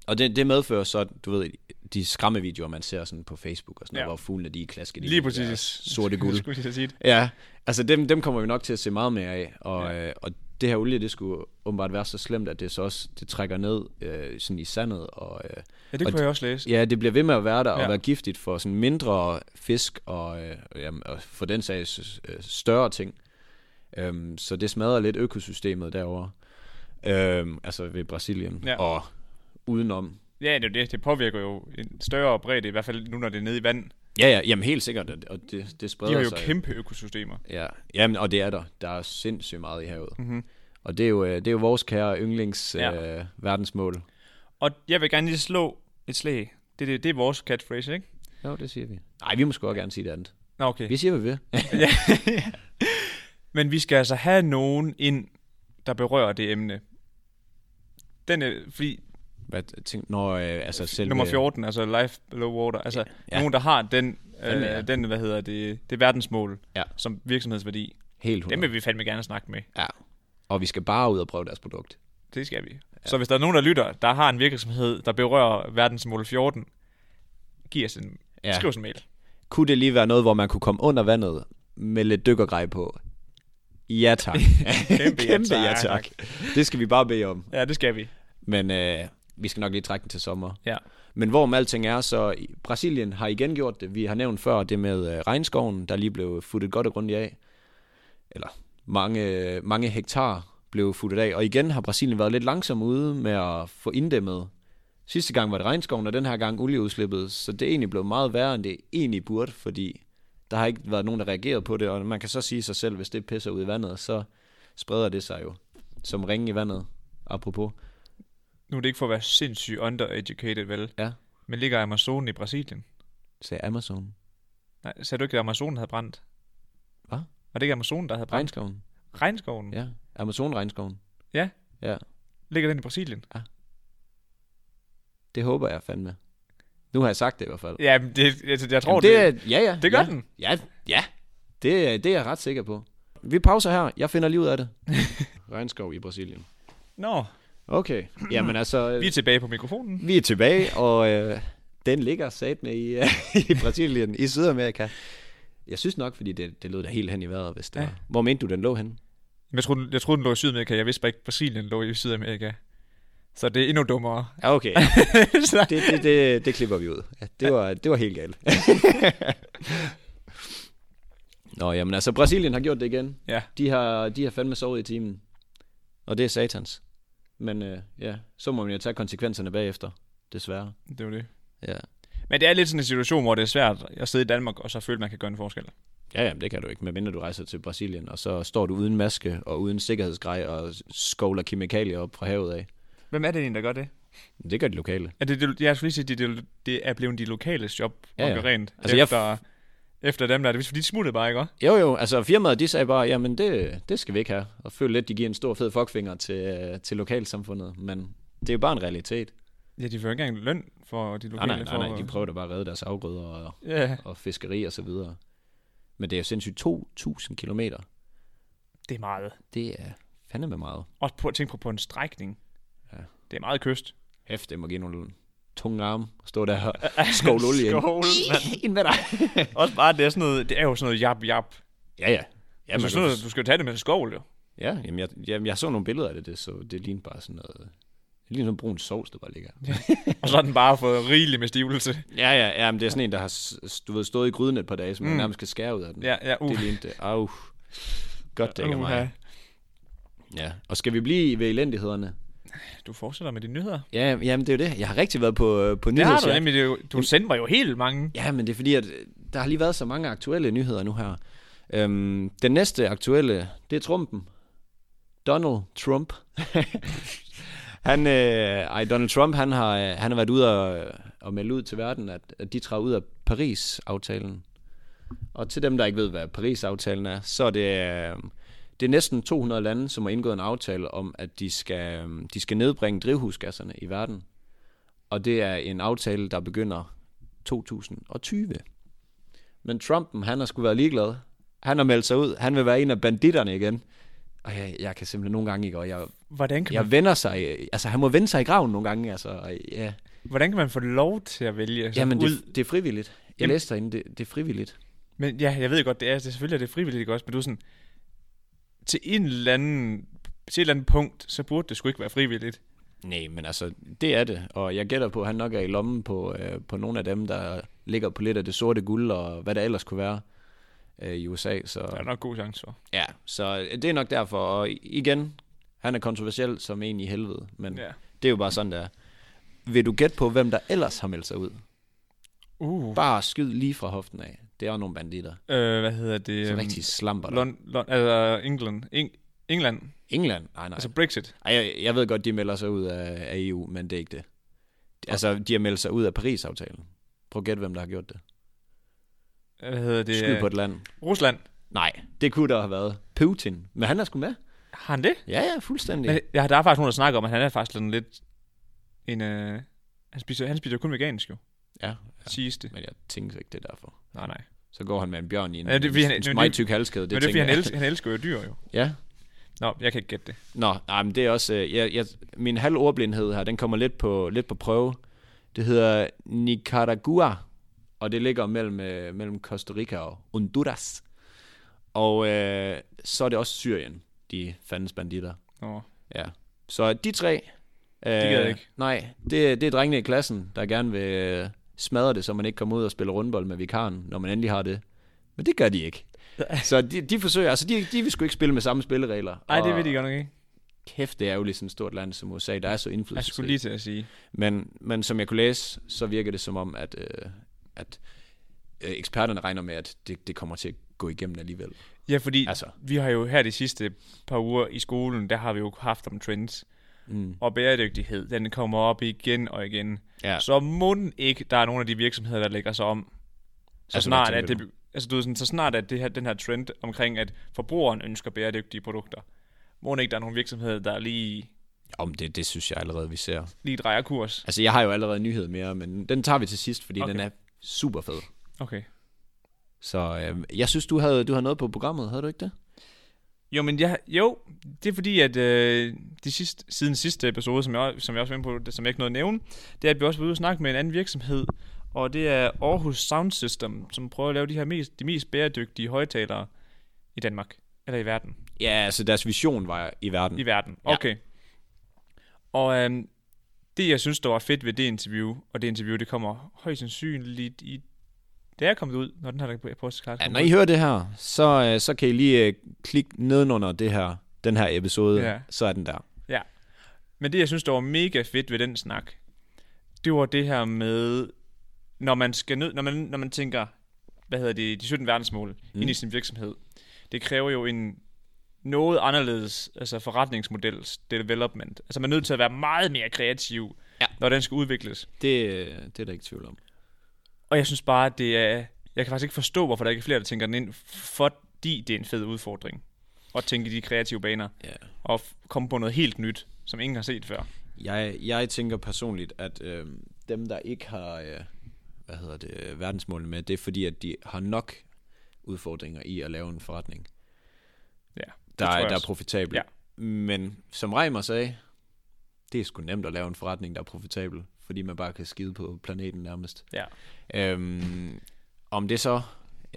Speaker 1: Og det, det medfører så, du ved, de skræmmevideoer, man ser sådan på Facebook og sådan noget,
Speaker 2: Ja.
Speaker 1: ja. hvor fuglene de er klasket i
Speaker 2: Lige
Speaker 1: deres
Speaker 2: præcis.
Speaker 1: sorte guld.
Speaker 2: Skulle jeg lige så sige det.
Speaker 1: Ja, altså dem, dem kommer vi nok til at se meget mere af, og, ja. øh, og det her olie, det skulle åbenbart være så slemt, at det så også det trækker ned øh, sådan i sandet, og øh,
Speaker 2: Ja, det
Speaker 1: Og
Speaker 2: kunne jeg også læse.
Speaker 1: ja, det bliver ved med at være der og
Speaker 2: Ja.
Speaker 1: være giftigt for sådan mindre fisk og, øh, jamen, og for den sags øh, større ting. Øhm, så det smadrer lidt økosystemet derovre, øhm, altså ved Brasilien
Speaker 2: Ja.
Speaker 1: ja. og udenom.
Speaker 2: Ja, det, er jo det, det påvirker jo en større bredde, i hvert fald nu, når det er nede i vand.
Speaker 1: Ja, ja, jamen helt sikkert, og- og det, det
Speaker 2: De
Speaker 1: spreder
Speaker 2: har jo
Speaker 1: sig.
Speaker 2: kæmpe økosystemer.
Speaker 1: Ja, jamen, og det er der. Der er sindssygt meget i havet. Mm-hmm. Og det er, jo, øh, det er jo vores kære yndlings
Speaker 2: Ja.
Speaker 1: ja. øh, verdensmål.
Speaker 2: Og jeg vil gerne lige slå et slag. Det, det, det er vores catchphrase, ikke?
Speaker 1: Jo, det siger vi. Nej, vi må sgu også gerne sige det andet.
Speaker 2: Nå, okay.
Speaker 1: Vi siger, hvad vi vil.
Speaker 2: Men vi skal altså have nogen ind, der berører det emne. Den er, fordi
Speaker 1: Hvad tænk, når, øh, altså selv,
Speaker 2: nummer 14, altså Life Below Water, altså ja.
Speaker 1: Ja.
Speaker 2: nogen, der har den, øh,
Speaker 1: Fandme, ja.
Speaker 2: den, hvad hedder det, det verdensmål
Speaker 1: Ja.
Speaker 2: som virksomhedsværdi.
Speaker 1: Helt 100.
Speaker 2: Dem vil vi fandme gerne snakke med.
Speaker 1: Ja. Og vi skal bare ud og prøve deres produkt.
Speaker 2: Det skal vi. Så hvis der er nogen, der lytter, der har en virksomhed, der berører verdensmål 14, giv os en, ja.
Speaker 1: Ja.
Speaker 2: skriv os en mail.
Speaker 1: Kunne det lige være noget, hvor man kunne komme under vandet med lidt dykkergrej på? Ja tak.
Speaker 2: Kæmpe ja tak.
Speaker 1: Det skal vi bare bede om.
Speaker 2: Ja, det skal vi.
Speaker 1: Men øh, vi skal nok lige trække den til sommer.
Speaker 2: Ja.
Speaker 1: Men hvorom alting er, så i- Brasilien har igen gjort det. Vi har nævnt før det med øh, regnskoven, der lige blev futtet godt og grundigt af. Eller mange, øh, mange hektar blev futtet af. Og igen har Brasilien været lidt langsom ude med at få inddæmmet. Sidste gang var det regnskoven, og den her gang olieudslippet. Så det er egentlig blevet meget værre, end det egentlig burde, fordi der har ikke været nogen, der reagerede på det. Og man kan så sige sig selv, hvis det pisser ud i vandet, så spreder det sig jo som ringe i vandet. Apropos.
Speaker 2: Nu er det ikke for at være sindssygt undereducated, vel?
Speaker 1: Ja.
Speaker 2: Men ligger Amazonen i Brasilien?
Speaker 1: sagde Amazon.
Speaker 2: Nej, sagde du ikke, at Amazonen havde brændt?
Speaker 1: Hvad?
Speaker 2: Var det ikke Amazonen, der havde brændt?
Speaker 1: Regnskoven.
Speaker 2: Regnskoven?
Speaker 1: Ja, Amazon-regnskoven.
Speaker 2: Ja.
Speaker 1: Ja,
Speaker 2: Ligger den i Brasilien?
Speaker 1: det håber jeg fandme. Nu har jeg sagt det i hvert fald.
Speaker 2: Ja, men det, altså, jeg tror,
Speaker 1: Jamen,
Speaker 2: det, det,
Speaker 1: Ja, ja.
Speaker 2: det gør
Speaker 1: ja.
Speaker 2: den.
Speaker 1: Ja, ja. Det, det er jeg ret sikker på. Vi pauser her. Jeg finder lige ud af det. Regnskov i Brasilien.
Speaker 2: Nå,
Speaker 1: Okay. Jamen altså,
Speaker 2: vi er
Speaker 1: vi,
Speaker 2: tilbage på mikrofonen.
Speaker 1: vi er tilbage, og øh, den ligger sat med i, øh, i Brasilien, i Sydamerika. Jeg synes nok, fordi det, det lød da helt hen i vejret, hvis det
Speaker 2: Ja.
Speaker 1: ja. var. Hvor mente du, den lå hen?
Speaker 2: Men Jeg troede, den- jeg troede, den lå i Sydamerika. Jeg vidste bare ikke, at Brasilien lå i Sydamerika. Så det er endnu dummere.
Speaker 1: Ja, okay.
Speaker 2: Så-
Speaker 1: det, det, det, det klipper vi ud. Ja, det, var, det var helt galt. Nå, jamen altså, Brasilien har gjort det igen.
Speaker 2: ja,
Speaker 1: De har, de har fandme sovet i timen. Og det er satans. Men øh, ja, så må man jo tage konsekvenserne bagefter, desværre.
Speaker 2: det var det.
Speaker 1: Ja,
Speaker 2: Men det er lidt sådan en situation, hvor det er svært at sidde i Danmark, og så føle, at man kan gøre en forskel.
Speaker 1: ja jamen, det kan du ikke, medmindre du rejser til Brasilien, og så står du uden maske og uden sikkerhedsgrej og skovler kemikalier op fra havet af.
Speaker 2: Hvem er det egentlig, der gør det?
Speaker 1: Det gør de lokale.
Speaker 2: Er det, det jeg skulle lige sige, det, det, det er blevet de lokale job,
Speaker 1: Ja, ja.
Speaker 2: ja, ja. rent
Speaker 1: Altså,
Speaker 2: altså,
Speaker 1: jeg
Speaker 2: efter, jeg efter dem der. Det er fordi, de smuttede bare, ikke også?
Speaker 1: Jo jo, altså firmaet de sagde bare, jamen det, det skal vi ikke have. Og føler lidt, de giver en stor fed fuckfinger til, øh, til lokalsamfundet, men det er jo bare en realitet.
Speaker 2: Ja, de får ikke engang løn for de
Speaker 1: Nej,
Speaker 2: lokale.
Speaker 1: nej, nej,
Speaker 2: for-
Speaker 1: nej, de prøver da bare at redde deres afgrøder og,
Speaker 2: Ja,
Speaker 1: og fiskeri og så videre. Men det er jo sindssygt 2.000 kilometer.
Speaker 2: det er meget.
Speaker 1: Det er fandeme meget.
Speaker 2: Også på, tænk på, på en strækning.
Speaker 1: Ja.
Speaker 2: Ja. Det er meget kyst.
Speaker 1: Hæft, det må give nogle tunge arme. Stå der og skåle olie ind.
Speaker 2: Skål, mand.
Speaker 1: Ind med dig.
Speaker 2: Også bare, det er, sådan noget, det er jo sådan noget jap jap.
Speaker 1: Ja, ja. Ja,
Speaker 2: Ja,
Speaker 1: man
Speaker 2: så
Speaker 1: kan
Speaker 2: sådan noget,
Speaker 1: godt-
Speaker 2: du skal jo tage det med en skål, jo.
Speaker 1: ja jamen, jeg, jamen, jeg så nogle billeder af det, det, så det lignede bare sådan noget... Det ligner sådan en brun sovs, der bare ligger.
Speaker 2: Og så har den bare fået rigeligt med stivelse.
Speaker 1: Ja, ja, ja, men det er sådan en, der har s- du ved, stået i gryden et par dage, som mm. man
Speaker 2: Mm.
Speaker 1: nærmest kan skære ud af den.
Speaker 2: Ja, ja, uh.
Speaker 1: Det lignede det. Au. Godt dækker uh,
Speaker 2: Uha.
Speaker 1: mig. Ja. Og skal vi blive ved elendighederne?
Speaker 2: Du fortsætter med dine nyheder.
Speaker 1: Ja, jamen det er jo det. Jeg har rigtig været på, øh, på
Speaker 2: Det har du
Speaker 1: nyhedsjagt.
Speaker 2: nemlig. Det er jo, du sendte mig jo helt mange.
Speaker 1: Ja, men det er fordi, at øh, der har lige været så mange aktuelle nyheder nu her. Øhm, den næste aktuelle, det er Trumpen. Donald Trump. han, øh, ej, Donald Trump, han har, øh, han har været ude og, og melde ud til verden, at, at de træder ud af Paris-aftalen. Og til dem, der ikke ved, hvad Paris-aftalen er, så er det, øh, det er næsten 200 lande, som har indgået en aftale om, at de skal, øh, de skal nedbringe drivhusgasserne i verden. Og det er en aftale, der begynder 2020. Men Trumpen, han har sgu været ligeglad. Han har meldt sig ud. Han vil være en af banditterne igen. Og jeg, jeg kan simpelthen nogle gange ikke, og jeg,
Speaker 2: Hvordan kan, man,
Speaker 1: jeg vender sig, altså han må vende sig i graven nogle gange, altså, og ja.
Speaker 2: hvordan kan man få lov til at vælge sig
Speaker 1: Jamen,
Speaker 2: ud?
Speaker 1: det, det er frivilligt. Jeg
Speaker 2: Jamen-
Speaker 1: læste derinde, det, det er frivilligt.
Speaker 2: Men ja, jeg ved godt, det er, det, er- selvfølgelig er det frivilligt, ikke også? Men du er sådan, til en eller anden, til et eller andet punkt, så burde det sgu ikke være frivilligt.
Speaker 1: Nej, men altså, det er det, og jeg gætter på, at han nok er i lommen på, øh, på nogle af dem, der ligger på lidt af det sorte guld, og hvad der ellers kunne være øh, i USA, så...
Speaker 2: Der er nok god chance for.
Speaker 1: Ja, så øh, det er nok derfor. Og igen, han er kontroversiel som en i helvede, men ja.
Speaker 2: Ja.
Speaker 1: det er jo bare sådan, der. Vil du gætte på, hvem der ellers har meldt sig ud?
Speaker 2: Uh,
Speaker 1: Bare skyd lige fra hoften af. Det er jo nogle banditter.
Speaker 2: øh, hvad hedder det?
Speaker 1: Så
Speaker 2: øhm,
Speaker 1: rigtig slamper der.
Speaker 2: Lon, Lon, altså England. Eng, England. Nej.
Speaker 1: England? Nej, nej.
Speaker 2: Altså Brexit.
Speaker 1: Ej, jeg, jeg ved godt, de melder sig ud af, af EU, men det er ikke det. Altså, de har meldt sig ud af Paris-aftalen. Prøv at gætte, hvem der har gjort det.
Speaker 2: Hvad hedder det? øh,
Speaker 1: Skyd på et land.
Speaker 2: Rusland.
Speaker 1: Nej, det kunne der have været. Putin. Men han er sgu med.
Speaker 2: Har han det?
Speaker 1: Ja, ja, fuldstændig.
Speaker 2: Men, ja, der er faktisk nogen, der snakker om, at han er faktisk sådan lidt en... Øh, han, spiser, han spiser jo kun vegansk jo,
Speaker 1: Ja,
Speaker 2: ja. siges det.
Speaker 1: men jeg tænker ikke, det er derfor.
Speaker 2: Nej, nej.
Speaker 1: Så går han med en bjørn i en,
Speaker 2: Ja, det er fordi, han-
Speaker 1: en,
Speaker 2: men
Speaker 1: en
Speaker 2: det-
Speaker 1: meget tyk halskæde.
Speaker 2: Det Men det er fordi, han,
Speaker 1: tænker
Speaker 2: elsker, han elsker jo dyr jo.
Speaker 1: jeg. Ja.
Speaker 2: Nå, jeg kan ikke gætte det.
Speaker 1: Nå, nej, men det er også... øh, Jeg, jeg, min halv ordblindhed her, den kommer lidt på, lidt på prøve. Det hedder Nicaragua, og det ligger mellem, øh, mellem Costa Rica og Honduras. Og øh, så er det også Syrien, de fandens banditter.
Speaker 2: Nå.
Speaker 1: Ja. Så de tre... Øh,
Speaker 2: gad jeg ikke.
Speaker 1: Nej, det, det er drengene i klassen, der gerne vil øh, smadre det, så man ikke kommer ud og spiller rundbold med vikaren, når man endelig har det. Men det gør de ikke. Så de, de forsøger, altså de, de vil sgu ikke spille med samme spilleregler.
Speaker 2: Nej, det
Speaker 1: Og
Speaker 2: ved de godt nok ikke.
Speaker 1: Kæft, det er jo sådan et stort land som USA, der er så
Speaker 2: Jeg
Speaker 1: indflydelse.
Speaker 2: skulle lige til at sige.
Speaker 1: Men, men som jeg kunne læse, så virker det som om, at, øh, at øh, eksperterne regner med, at det, det kommer til at gå igennem alligevel.
Speaker 2: Ja, fordi altså.
Speaker 1: Altså,
Speaker 2: vi har jo her de sidste par uger i skolen, der har vi jo haft om trends.
Speaker 1: mm,
Speaker 2: Og bæredygtighed, den kommer op igen og igen.
Speaker 1: ja.
Speaker 2: Ja. Så må den ikke, der er nogle af de virksomheder, der lægger sig om. Så
Speaker 1: Altså,
Speaker 2: altså,
Speaker 1: hvad
Speaker 2: snart, at
Speaker 1: tænker
Speaker 2: det, altså, du ved, sådan, så snart at det her, den her trend omkring, at forbrugeren ønsker bæredygtige produkter, må den ikke, der er nogle virksomheder, der lige,
Speaker 1: Om det, det synes jeg allerede, vi ser.
Speaker 2: lige drejer kurs.
Speaker 1: Altså, jeg har jo allerede en nyhed mere, men den tager vi til sidst, fordi okay.
Speaker 2: Okay.
Speaker 1: den er super fed.
Speaker 2: Okay.
Speaker 1: Så øh, jeg synes, du havde, du havde noget på programmet, havde du ikke det?
Speaker 2: Jo, men jeg, jo, det er fordi, at øh, de sidste, siden sidste episode, som jeg, som jeg også var inde på, det, som jeg ikke nåede at nævne, det er, at vi også var ude og snakke med en anden virksomhed, og det er Aarhus Sound System, som prøver at lave de her mest, de mest bæredygtige højtalere i Danmark, eller i verden.
Speaker 1: Ja, altså deres vision var i verden.
Speaker 2: I verden.
Speaker 1: Ja.
Speaker 2: Okay. Og øhm, det, jeg synes, der var fedt ved det interview, og det interview, det kommer højst sandsynligt i... Det er kommet ud, når den her podcast
Speaker 1: Ja,
Speaker 2: kommer
Speaker 1: når I hører det her, så, øh, så kan I lige øh, klikke nedenunder det her, den her episode, ja.
Speaker 2: Ja.
Speaker 1: så er den der.
Speaker 2: Men det, jeg synes, der var mega fedt ved den snak, det var det her med, når man, skal ned, når man, når man tænker, hvad hedder det, de 17 verdensmål mm. ind i sin virksomhed. Det kræver jo en noget anderledes altså forretningsmodels development. Altså man er nødt til at være meget mere kreativ,
Speaker 1: Ja.
Speaker 2: ja. når den skal udvikles.
Speaker 1: Det, øh, det er der ikke tvivl om.
Speaker 2: Og jeg synes bare, at det er... Jeg kan faktisk ikke forstå, hvorfor der ikke er flere, der tænker den ind, fordi det er en fed udfordring at tænke i de kreative baner
Speaker 1: Ja.
Speaker 2: og f- komme på noget helt nyt, som ingen har set før.
Speaker 1: Jeg, jeg tænker personligt, at øh, dem, der ikke har øh, hvad hedder det, verdensmålene med, det er fordi, at de har nok udfordringer i at lave en forretning,
Speaker 2: Ja, det
Speaker 1: der,
Speaker 2: tror jeg
Speaker 1: er, der er
Speaker 2: også.
Speaker 1: profitabel. Men som Reimer sagde, det er sgu nemt at lave en forretning, der er profitabel, fordi man bare kan skide på planeten nærmest.
Speaker 2: Ja.
Speaker 1: Øhm, om det så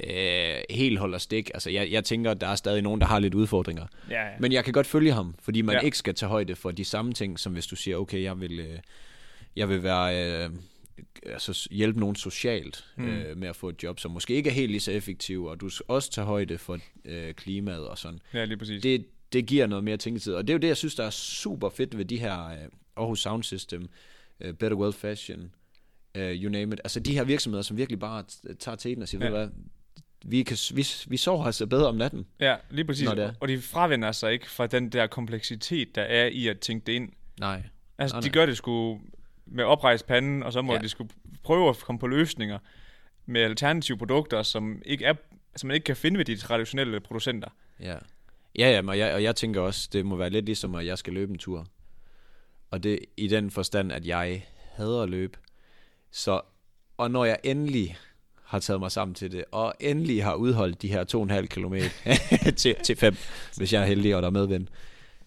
Speaker 1: øh, helt holder stik, altså jeg, jeg tænker, at der er stadig nogen, der har lidt udfordringer.
Speaker 2: Ja, ja.
Speaker 1: Men jeg kan godt følge ham, fordi man ja.
Speaker 2: Ja.
Speaker 1: ikke skal tage højde for de samme ting, som hvis du siger, okay, jeg vil, øh, jeg vil være, øh, altså s- hjælpe nogen socialt mm. øh, med at få et job, som måske ikke er helt lige så effektiv, og du s- også tager højde for øh, klimaet og sådan.
Speaker 2: ja lige præcis.
Speaker 1: Det, det giver noget mere tænketid, og det er jo det, jeg synes, der er super fedt ved de her øh, Aarhus Sound System, øh, Better World Fashion, øh, you name it. Altså de her virksomheder, som virkelig bare t- tager teten og siger, ja.
Speaker 2: Ja.
Speaker 1: ved du hvad, vi, kan, s- vi, s- vi sover altså bedre om natten.
Speaker 2: Ja, lige præcis.
Speaker 1: Når det er.
Speaker 2: Og de fravender sig ikke fra den der kompleksitet, der er i at tænke det ind.
Speaker 1: Nej.
Speaker 2: Altså,
Speaker 1: Nej,
Speaker 2: de
Speaker 1: nej.
Speaker 2: gør det sgu med oprejst panden, og så må
Speaker 1: Ja.
Speaker 2: ja. de skulle prøve at komme på løsninger med alternative produkter, som, ikke er, som man ikke kan finde ved de traditionelle producenter.
Speaker 1: Ja. Ja, ja, og jeg, og jeg tænker også, det må være lidt ligesom, at jeg skal løbe en tur. Og det i den forstand, at jeg hader at løbe. Så, og når jeg endelig har taget mig sammen til det, og endelig har udholdt de her 2,5 km til, til 5, hvis jeg er heldig, og der er medvind,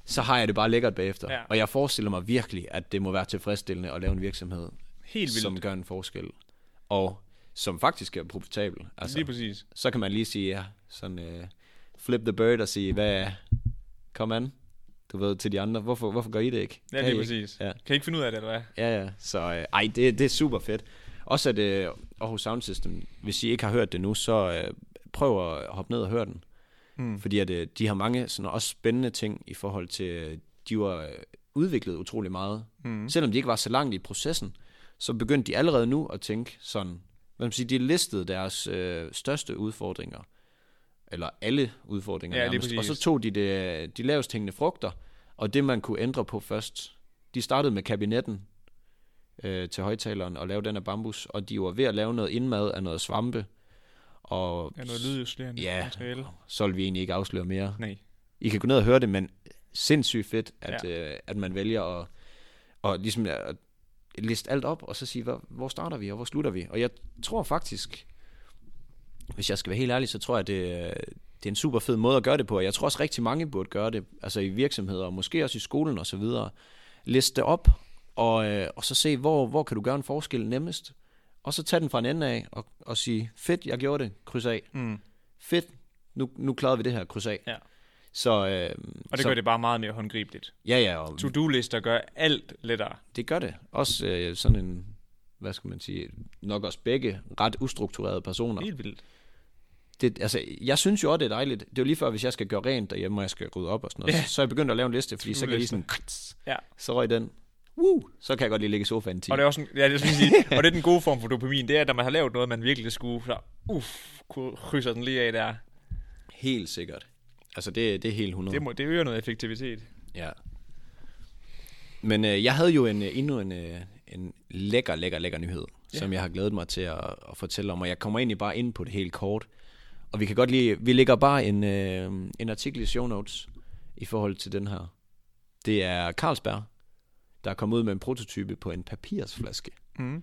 Speaker 1: så har jeg det bare lækkert bagefter.
Speaker 2: Ja.
Speaker 1: Og jeg forestiller mig virkelig, at det må være tilfredsstillende at lave en virksomhed,
Speaker 2: Helt vildt.
Speaker 1: som gør en forskel, og som faktisk er profitabel.
Speaker 2: Altså. Lige præcis.
Speaker 1: så kan man lige sige, ja, sådan øh, flip the bird og sige, hvad kom an, du ved, til de andre, hvorfor, hvorfor gør I det ikke?
Speaker 2: Ja,
Speaker 1: Kan
Speaker 2: lige
Speaker 1: I
Speaker 2: præcis.
Speaker 1: Ja.
Speaker 2: Ja. Kan I ikke finde ud af det, eller hvad?
Speaker 1: Ja, ja, så øh, ej, det, det er super fedt. Også at øh, Aarhus Sound System, hvis I ikke har hørt det nu, så øh, prøv at hoppe ned og høre den. Mm.
Speaker 2: Mm.
Speaker 1: Fordi at, øh, de har mange sådan, også spændende ting i forhold til, øh, de var øh, udviklet utrolig meget.
Speaker 2: Hmm.
Speaker 1: Mm. Selvom de ikke var så langt i processen, så begyndte de allerede nu at tænke sådan, hvad man siger, de listede deres øh, største udfordringer, eller alle udfordringer
Speaker 2: Ja, lige
Speaker 1: nærmest, og
Speaker 2: præcis.
Speaker 1: så tog de det, øh, de lavest hængende frugter, og det man kunne ændre på først. De startede med kabinetten øh, til højtaleren og lavede den af bambus, og de var ved at lave noget indmad af noget svampe, og
Speaker 2: Er noget lydisolerende
Speaker 1: Ja.
Speaker 2: materiale?
Speaker 1: så vil vi egentlig ikke afsløre mere.
Speaker 2: Nej.
Speaker 1: I kan gå ned og høre det, men sindssygt fedt, at, ja. øh, at man vælger at, og ligesom at liste alt op, og så sige, hvor, hvor starter vi, og hvor slutter vi? Og jeg tror faktisk, hvis jeg skal være helt ærlig, så tror jeg, det, øh, det er en super fed måde at gøre det på, og jeg tror også rigtig mange burde gøre det, altså i virksomheder, og måske også i skolen og så videre. Liste det op, og, øh, og så se, hvor, hvor kan du gøre en forskel nemmest? Og så tage den fra en ende af, og, og sige, fedt, jeg gjorde det, kryds af.
Speaker 2: Mm.
Speaker 1: Fedt, nu, nu klarede vi det her, kryds af.
Speaker 2: Ja.
Speaker 1: Så, øh,
Speaker 2: Og det
Speaker 1: så,
Speaker 2: gør det bare meget mere håndgribeligt.
Speaker 1: Ja, ja, og
Speaker 2: To-do-lister gør alt lettere.
Speaker 1: det gør det. Også øh, sådan en, hvad skal man sige, nok også begge ret ustrukturerede personer.
Speaker 2: Helt vildt.
Speaker 1: Det, altså, jeg synes jo også, det er dejligt. Det er jo lige før, hvis jeg skal gøre rent derhjemme, og jeg skal rydde op og sådan noget, ja. så er jeg begyndt at lave en liste, fordi så kan jeg lige sådan,
Speaker 2: Ja.
Speaker 1: så røg den. Woo! Så kan jeg godt lige ligge i sofaen en time.
Speaker 2: Og det er også en, ja, det skal jeg sige, og det er den gode form for dopamin, det er, at når man har lavet noget, man virkelig skulle, så uff, krydser den lige af der.
Speaker 1: Helt sikkert. Altså, det, det er helt 100.
Speaker 2: Det, må, det øger noget effektivitet.
Speaker 1: Ja. Men øh, jeg havde jo en, øh, endnu en, øh, en lækker, lækker, lækker nyhed, ja. som jeg har glædet mig til at, at fortælle om, og jeg kommer egentlig bare ind på det helt kort. Og vi kan godt lige, vi lægger bare en, øh, en artikel i show notes i forhold til den her. Det er Carlsberg, der er kommet ud med en prototype på en papirsflaske.
Speaker 2: Mm.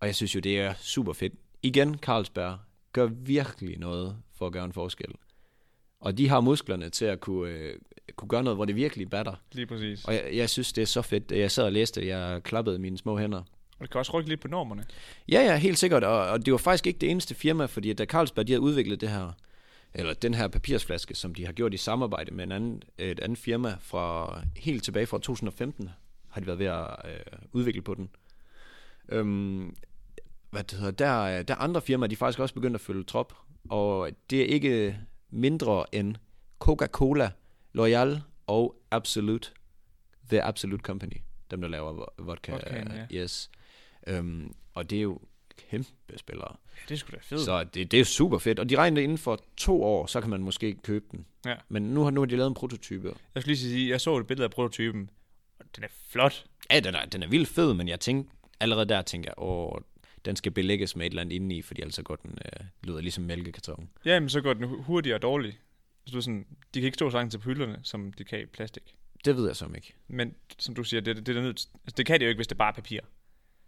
Speaker 1: Og jeg synes jo, det er super fedt. Igen, Carlsberg gør virkelig noget for at gøre en forskel. Og de har musklerne til at kunne, øh, kunne gøre noget, hvor det virkelig batter.
Speaker 2: Lige præcis. Og
Speaker 1: Og jeg, jeg synes, det er så fedt. Jeg sad og læste det, jeg klappede mine små hænder.
Speaker 2: det kan også rykke lidt på normerne.
Speaker 1: Ja, ja, helt sikkert. Og, og det var faktisk ikke det eneste firma, fordi da Carlsberg de havde udviklet det her, eller den her papirsflaske, som de har gjort i samarbejde med en anden, et andet firma fra helt tilbage fra 2015, har de været ved at øh, udvikle på den. Øhm, hvad det hedder, der, er- der er andre firmaer, de er faktisk også begyndt at følge trop, og det er ikke mindre end Coca-Cola, Loyal og Absolute, The Absolute Company, dem der laver vo- vodka.
Speaker 2: Vodkaen,
Speaker 1: Yes. Øhm, og det er jo kæmpe spillere.
Speaker 2: Ja, det er sgu da fedt.
Speaker 1: Så det, det er super fedt. Og de regner inden for to år, så kan man måske købe den.
Speaker 2: Ja.
Speaker 1: Men nu har, nu har de lavet en prototype.
Speaker 2: Jeg skulle lige sige, jeg så et billede af prototypen, og den er flot.
Speaker 1: Ja, den er, den er vildt fed, men jeg tænkte, allerede der tænker jeg, åh, den skal belægges med et eller andet indeni, fordi ellers så går den øh, lyder ligesom mælkekarton.
Speaker 2: Jamen, så går den hu- hurtigere og dårlig. Så du er sådan, de kan ikke stå så langt til på hylderne, som de kan i plastik.
Speaker 1: Det ved jeg så ikke.
Speaker 2: Men som du siger, det, det, det, er nødt, altså, det kan de jo ikke, hvis det bare er papir.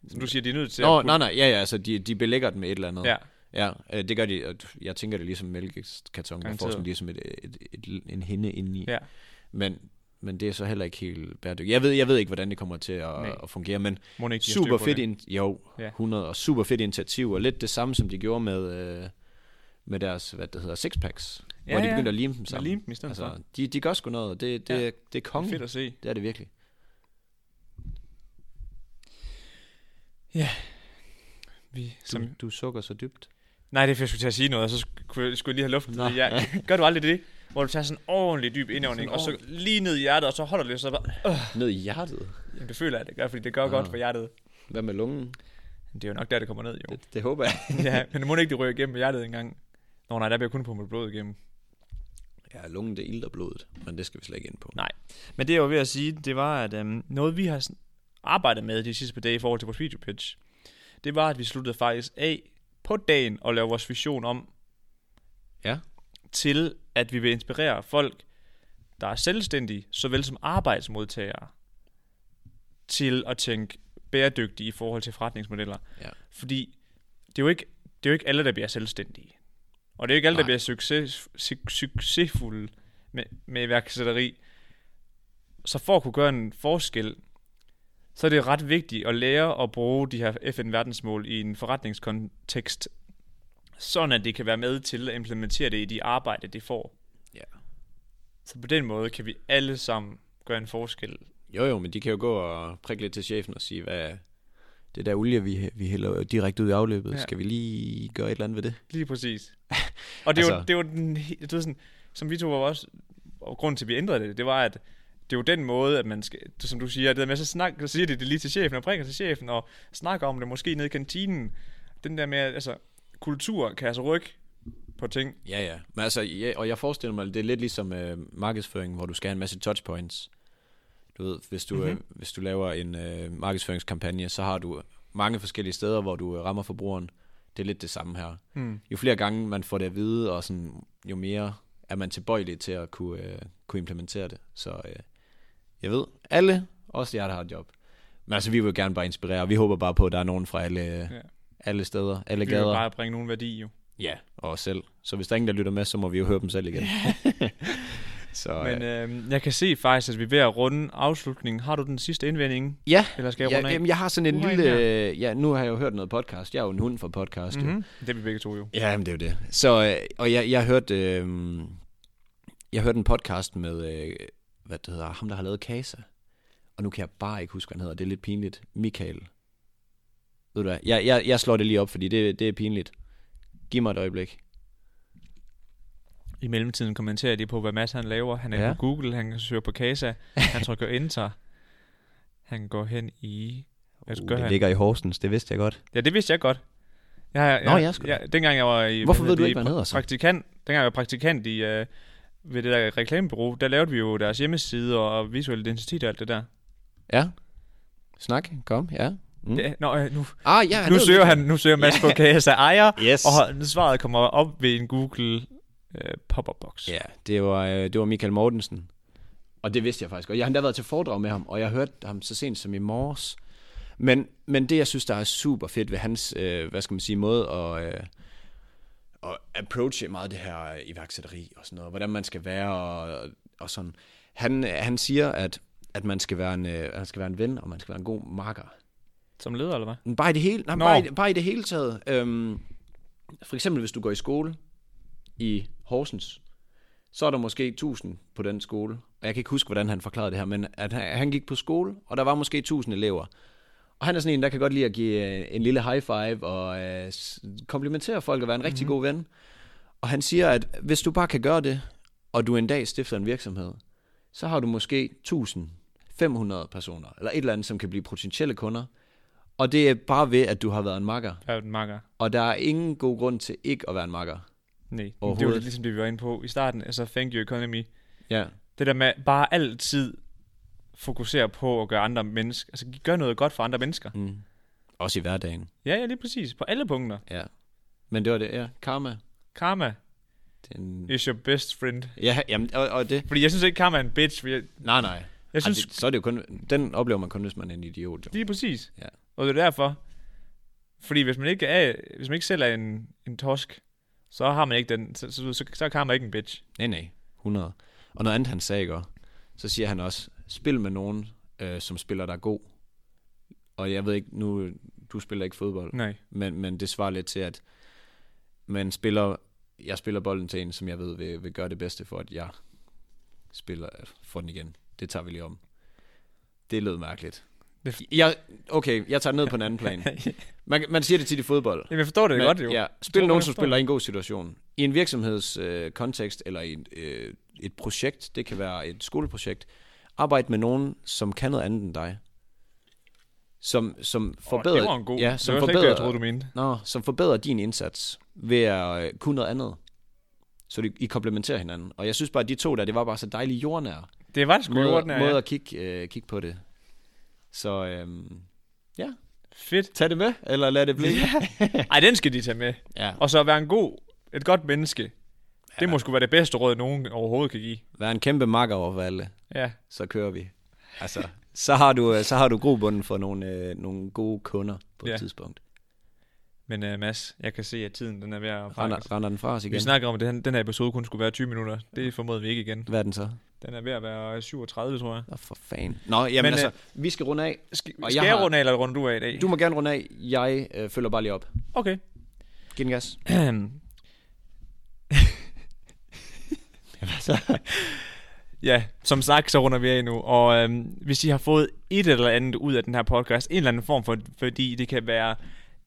Speaker 2: Som du siger, de er nødt til
Speaker 1: Nå,
Speaker 2: at
Speaker 1: nej, nej, ja, ja, altså de, de belægger den med et eller andet.
Speaker 2: Ja,
Speaker 1: ja øh, det gør de, og du- jeg tænker det er ligesom mælkekarton, man får
Speaker 2: Garanteret.
Speaker 1: sådan ligesom et, et, et, et, en hinde indeni.
Speaker 2: ja.
Speaker 1: Men, men det er så heller ikke helt bæredygtigt. Jeg ved, jeg ved ikke, hvordan det kommer til
Speaker 2: Nej.
Speaker 1: at, at fungere, men
Speaker 2: Må ikke, de har styr
Speaker 1: super
Speaker 2: på
Speaker 1: fedt,
Speaker 2: det.
Speaker 1: in, jo,
Speaker 2: Ja.
Speaker 1: 100, og super fedt initiativ, og lidt det samme, som de gjorde med, øh, med deres, hvad det hedder, sixpacks,
Speaker 2: Ja,
Speaker 1: hvor de
Speaker 2: ja.
Speaker 1: begyndte at lime dem
Speaker 2: Så
Speaker 1: sammen.
Speaker 2: lim dem i stedet altså, for.
Speaker 1: altså, de, de gør sgu noget, og det, det,
Speaker 2: Ja.
Speaker 1: ja. det er
Speaker 2: Det er
Speaker 1: kongen.
Speaker 2: fedt at se.
Speaker 1: Det er det virkelig.
Speaker 2: Vi,
Speaker 1: Du,
Speaker 2: som,
Speaker 1: du sukker så dybt.
Speaker 2: nej, det er fordi, jeg skulle til at sige noget, og så sk- skulle jeg, skulle jeg lige have luftet
Speaker 1: Nå.
Speaker 2: det. Jeg, gør du aldrig det? Hvor du tager sådan en ordentlig dyb indånding, og så lige ned i hjertet, og så holder det, og så bare,
Speaker 1: Ned i hjertet.
Speaker 2: jamen, det føler jeg, det gør, fordi det gør
Speaker 1: Ah.
Speaker 2: godt for hjertet.
Speaker 1: Hvad med lungen?
Speaker 2: Men det er jo nok der, det kommer ned, jo.
Speaker 1: Det, det håber jeg.
Speaker 2: ja, men det må ikke, det ryger igennem hjertet engang. Nå nej, der bliver kun pumpet blod igennem.
Speaker 1: Ja, lungen det ilter blodet, men det skal vi slet ikke ind på.
Speaker 2: Men det jeg var ved at sige, det var, at øhm, noget vi har sådan arbejdet med de sidste par dage i forhold til vores video pitch, det var, at vi sluttede faktisk af på dagen og lavede vores vision om
Speaker 1: Ja.
Speaker 2: til, at vi vil inspirere folk, der er selvstændige, såvel som arbejdsmodtagere, til at tænke bæredygtige i forhold til forretningsmodeller.
Speaker 1: Ja.
Speaker 2: Fordi det er, jo ikke, det er jo ikke alle, der bliver selvstændige. Og det er jo ikke alle, der
Speaker 1: Nej.
Speaker 2: bliver succes, suc- succesfulde med, med iværksætteri. Så for at kunne gøre en forskel, så er det ret vigtigt at lære at bruge de her FN-verdensmål i en forretningskontekst, sådan at det kan være med til at implementere det i de arbejde, det får.
Speaker 1: Ja.
Speaker 2: Så på den måde kan vi alle sammen gøre en forskel.
Speaker 1: Jo jo, men de kan jo gå og prikke lidt til chefen og sige, hvad det der olie, vi, vi hælder direkte ud i afløbet,
Speaker 2: Ja.
Speaker 1: ja. skal vi lige gøre et eller andet ved det?
Speaker 2: Lige præcis. Og det er altså, jo,
Speaker 1: Altså-
Speaker 2: det er jo den, he- du ved sådan, som vi to var også, og grunden til, at vi ændrede det, det var, at det er jo den måde, at man skal, det, som du siger, det der med, så, snak, så siger de det lige til chefen, og bringer til chefen, og snakker om det måske nede i kantinen. Den der med, at, altså, kultur kan altså rykke på ting.
Speaker 1: Ja, ja. Men altså, ja, og jeg forestiller mig, det er lidt ligesom øh, markedsføring, hvor du skal have en masse touchpoints. Du ved, hvis du, mm-hmm. øh, hvis du laver en øh, markedsføringskampagne, så har du mange forskellige steder, hvor du øh, rammer forbrugeren. Det er lidt det samme her.
Speaker 2: Mm.
Speaker 1: Jo flere gange man får det at vide, og sådan, jo mere er man tilbøjelig til at kunne, øh, kunne implementere det. Så øh, jeg ved, alle, også jer, der har et job. Men altså, vi vil gerne bare inspirere, og vi håber bare på, at der er nogen fra alle, ja. alle steder, alle
Speaker 2: Vi kan
Speaker 1: gader.
Speaker 2: bare bringe nogen værdi, jo.
Speaker 1: Ja, og os selv. Så hvis der er ingen, der lytter med, så må vi jo høre dem selv igen. så,
Speaker 2: Men
Speaker 1: Men, øh,
Speaker 2: øh, jeg kan se faktisk, at vi er ved at runde afslutningen. Har du den sidste indvending?
Speaker 1: ja,
Speaker 2: Eller skal jeg runde
Speaker 1: jeg,
Speaker 2: af?
Speaker 1: jamen, jeg har sådan en
Speaker 2: Du har en
Speaker 1: lille... Ja, nu har jeg jo hørt noget podcast. Jeg er jo en hund for podcast. Mm-hmm.
Speaker 2: mm-hmm. Det er vi begge to jo.
Speaker 1: Ja, jamen, det er jo det. Så, øh, og jeg, jeg hørte... Øh, jeg hørte en podcast med, øh, hvad det hedder, ham der har lavet Kasa. Og nu kan jeg bare ikke huske, hvad han hedder. Det er lidt pinligt. Michael. Ved du hvad? Jeg, jeg, jeg slår det lige op, fordi det, det er pinligt. Giv mig et øjeblik.
Speaker 2: I mellemtiden kommenterer de på, hvad Mads han laver. Han er ja.
Speaker 1: Ja.
Speaker 2: på Google, han søger på Casa, han trykker Enter. Han går hen i... Hvad
Speaker 1: Uh,
Speaker 2: gør
Speaker 1: det
Speaker 2: han?
Speaker 1: ligger i Horsens, det vidste jeg godt.
Speaker 2: Ja, det vidste jeg godt. Jeg, jeg,
Speaker 1: Nå, jeg skulle-
Speaker 2: jeg, dengang jeg var i...
Speaker 1: Hvorfor ved
Speaker 2: hedder
Speaker 1: du
Speaker 2: det,
Speaker 1: ikke, hvad han hedder så?
Speaker 2: Praktikant, dengang jeg var praktikant i, øh, ved det der reklamebureau, der lavede vi jo deres hjemmeside og visuel identitet og alt det der.
Speaker 1: Mm. Ja. Snak, kom, ja. Mm.
Speaker 2: Ja, nå, øh, nu,
Speaker 1: Ah, ja,
Speaker 2: nu,
Speaker 1: ved
Speaker 2: søger
Speaker 1: det.
Speaker 2: han, nu søger Mads på Casa ejer,
Speaker 1: Yes.
Speaker 2: og har- svaret kommer op ved en Google øh, pop-up box.
Speaker 1: Ja, det var, øh, det var Michael Mortensen. Og det vidste jeg faktisk. Og jeg har endda været til foredrag med ham, og jeg hørte ham så sent som i morges. Men, men det, jeg synes, der er super fedt ved hans, øh, hvad skal man sige, måde at, øh, at approache meget det her øh, iværksætteri og sådan noget, hvordan man skal være og, og sådan. Han, øh, han siger, at, at man, skal være en, øh, man skal være en ven, og man skal være en god marker.
Speaker 2: Som leder, eller hvad?
Speaker 1: Men Bare i det hele, nej,
Speaker 2: Nå.
Speaker 1: bare, i, bare i det hele taget. Øhm, for eksempel, hvis du går i skole i Horsens, så er der måske 1000 på den skole. Og jeg kan ikke huske, hvordan han forklarede det her, men at han, han gik på skole, og der var måske 1000 elever. Og han er sådan en, der kan godt lide at give øh, en lille high five og øh, s- komplimentere folk og være en rigtig mm-hmm. god ven. Og han siger, at hvis du bare kan gøre det, og du en dag stifter en virksomhed, så har du måske 1000, 500 personer, eller et eller andet, som kan blive potentielle kunder. Og det er bare ved, at du har været en makker.
Speaker 2: Jeg er jo en makker.
Speaker 1: Og der er ingen god grund til ikke at være en makker.
Speaker 2: Nej, det var
Speaker 1: Overhovedet.
Speaker 2: lidt ligesom det, vi var inde på i starten. Altså, thank you economy.
Speaker 1: Ja.
Speaker 2: Det der med bare altid fokusere på at gøre andre mennesker. Altså, gør noget godt for andre mennesker.
Speaker 1: Mm. Også i hverdagen.
Speaker 2: Ja, ja, lige præcis. På alle punkter.
Speaker 1: Ja. Men det var det, ja. Karma.
Speaker 2: Karma
Speaker 1: Den...
Speaker 2: is your best friend.
Speaker 1: Ja, jamen, og, og det...
Speaker 2: Fordi jeg synes ikke, karma er en bitch. fordi Jeg,
Speaker 1: Nej, nej.
Speaker 2: jeg
Speaker 1: Ej,
Speaker 2: synes,
Speaker 1: det, så er det jo kun... Den oplever man kun, hvis man er en idiot, jo.
Speaker 2: Lige præcis.
Speaker 1: Ja.
Speaker 2: Og det er derfor, fordi hvis man ikke, er, hvis man ikke selv er en, en tosk, så har man ikke den, så, så, så, så kan man ikke en bitch.
Speaker 1: Nej, nej. 100. Og noget andet, han sagde i går, så siger han også, spil med nogen, øh, som spiller dig god. Og jeg ved ikke, nu... Du spiller ikke fodbold.
Speaker 2: Nej.
Speaker 1: Men, men det svarer lidt til, at man spiller, jeg spiller bolden til en, som jeg ved vil, vil gøre det bedste for, at jeg spiller for den igen. Det tager vi lige om. Det lød mærkeligt.
Speaker 2: Det-
Speaker 1: Jeg, okay, jeg tager det ned på en anden plan. Man, man siger det tit i fodbold.
Speaker 2: Jamen, jeg forstår det
Speaker 1: Men-
Speaker 2: godt jo.
Speaker 1: Ja,
Speaker 2: Tror
Speaker 1: spil
Speaker 2: du,
Speaker 1: nogen,
Speaker 2: jeg
Speaker 1: som
Speaker 2: forstår
Speaker 1: spiller i en god situation. I en virksomheds øh, kontekst, eller i et, øh, et projekt, det kan være et skoleprojekt, arbejd med nogen, som kan noget andet end dig. Som, som forbedrer...
Speaker 2: Åh, det var en god.
Speaker 1: Ja,
Speaker 2: som
Speaker 1: som
Speaker 2: det var slet ikke det,
Speaker 1: forbedrer,
Speaker 2: jeg troede, du mente.
Speaker 1: Nå, som forbedrer din indsats ved at øh, kunne noget andet. Så de, I komplementerer hinanden. Og jeg synes bare, at de to der, det var bare så dejlige jordnære
Speaker 2: Det var det sgu
Speaker 1: måder,
Speaker 2: jorden af,
Speaker 1: måder
Speaker 2: ja.
Speaker 1: at kigge, øh, kigge på det. Så øhm,
Speaker 2: Fedt.
Speaker 1: tag det med, eller lad det blive.
Speaker 2: Ej, den skal de tage med.
Speaker 1: ja.
Speaker 2: Og så være en god, et godt menneske. Det
Speaker 1: Ja.
Speaker 2: må sgu være det bedste råd, nogen overhovedet kan give.
Speaker 1: Vær en kæmpe makker over for alle,
Speaker 2: Ja,
Speaker 1: så kører vi. Altså, så har du, øh, så har du grobunden for nogle, øh, nogle gode kunder på et
Speaker 2: Ja.
Speaker 1: tidspunkt.
Speaker 2: men uh, Mads, jeg kan se, at tiden den er ved at
Speaker 1: Render, render den fra os
Speaker 2: Vi
Speaker 1: igen.
Speaker 2: snakker om, at den, den her episode kun skulle være 20 minutter. Det formåede vi ikke igen.
Speaker 1: Hvad er den så?
Speaker 2: Den er ved at være 37, tror jeg.
Speaker 1: Nå, for fanden. Nå, jamen
Speaker 2: Men, øh,
Speaker 1: Men, altså, vi skal runde af.
Speaker 2: Skal,
Speaker 1: Og
Speaker 2: skal
Speaker 1: jeg
Speaker 2: jeg,
Speaker 1: har-
Speaker 2: runde af, eller runder du af i dag?
Speaker 1: Du må gerne runde af. Jeg øh, følger bare lige op.
Speaker 2: Okay.
Speaker 1: Giv den gas.
Speaker 2: altså. ja, som sagt, så runder vi af nu. Og øhm, hvis I har fået et eller andet ud af den her podcast, en eller anden form for, fordi det kan være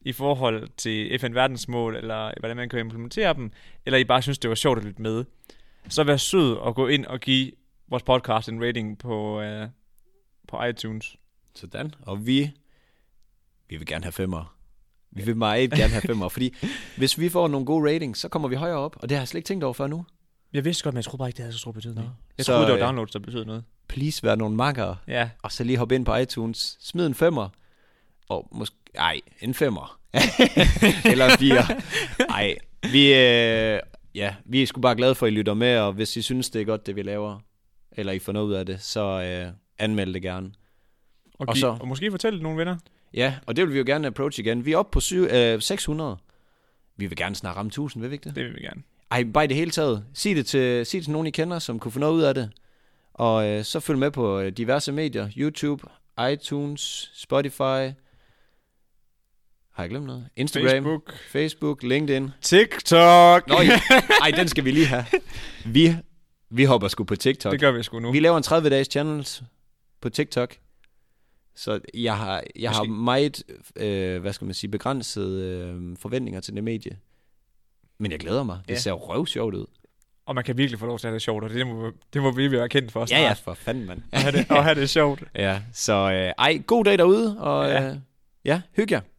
Speaker 2: i forhold til FN-verdensmål, eller hvordan man kan implementere dem, eller I bare synes, det var sjovt at lytte med, så vær sød og gå ind og give vores podcast en rating på, øh, på iTunes.
Speaker 1: Sådan. Og vi, vi vil gerne have femmer. Vi vil meget gerne have femmer, fordi hvis vi får nogle gode ratings, så kommer vi højere op, og det har jeg slet ikke tænkt over før nu.
Speaker 2: Jeg vidste godt, men jeg troede bare ikke, det havde så stor betydning.
Speaker 1: Nå.
Speaker 2: Jeg
Speaker 1: Så,
Speaker 2: troede, det
Speaker 1: øh,
Speaker 2: var downloads, der betød noget.
Speaker 1: Please vær nogle makkere,
Speaker 2: Ja,
Speaker 1: og så lige hoppe ind på iTunes, smid en femmer, og måske, ej, en femmer, eller en fire. Ej, vi, øh, ja, vi er sgu bare glade for, at I lytter med, og hvis I synes, det er godt, det vi laver, eller I får noget ud af det, så øh, anmeld det gerne.
Speaker 2: og,
Speaker 1: og
Speaker 2: og,
Speaker 1: så-
Speaker 2: og måske fortælle nogle venner.
Speaker 1: Ja, og det vil vi jo gerne approach igen. Vi er oppe på syv, øh, 600. Vi vil gerne snart ramme 1000, vil vi ikke det?
Speaker 2: Det vil vi gerne.
Speaker 1: Ej, bare i det hele taget. Sig det til, sig det til nogen, I kender, som kunne få noget ud af det. Og øh, så følg med på øh, diverse medier. YouTube, iTunes, Spotify. Har jeg glemt noget? Instagram, Facebook,
Speaker 2: Facebook.
Speaker 1: Facebook LinkedIn.
Speaker 2: TikTok.
Speaker 1: Nå, ja. ej, den skal vi lige have. Vi, vi hopper sgu på TikTok.
Speaker 2: Det gør vi sgu nu.
Speaker 1: Vi laver en 30-dages channels på TikTok. Så jeg har, jeg har
Speaker 2: Måske-
Speaker 1: meget, øh, hvad skal man sige, begrænsede øh, forventninger til det medie. Men jeg glæder mig. Det
Speaker 2: Ja.
Speaker 1: ja. ser røv sjovt ud.
Speaker 2: Og man kan virkelig få lov til at have det sjovt, og det må, det må vi være kendt for.
Speaker 1: Ja, ja,
Speaker 2: snart.
Speaker 1: for fanden, mand.
Speaker 2: At have det, og have det sjovt.
Speaker 1: ja, så øh, ej, god dag derude, og
Speaker 2: Ja.
Speaker 1: ja, øh, ja hygge jer.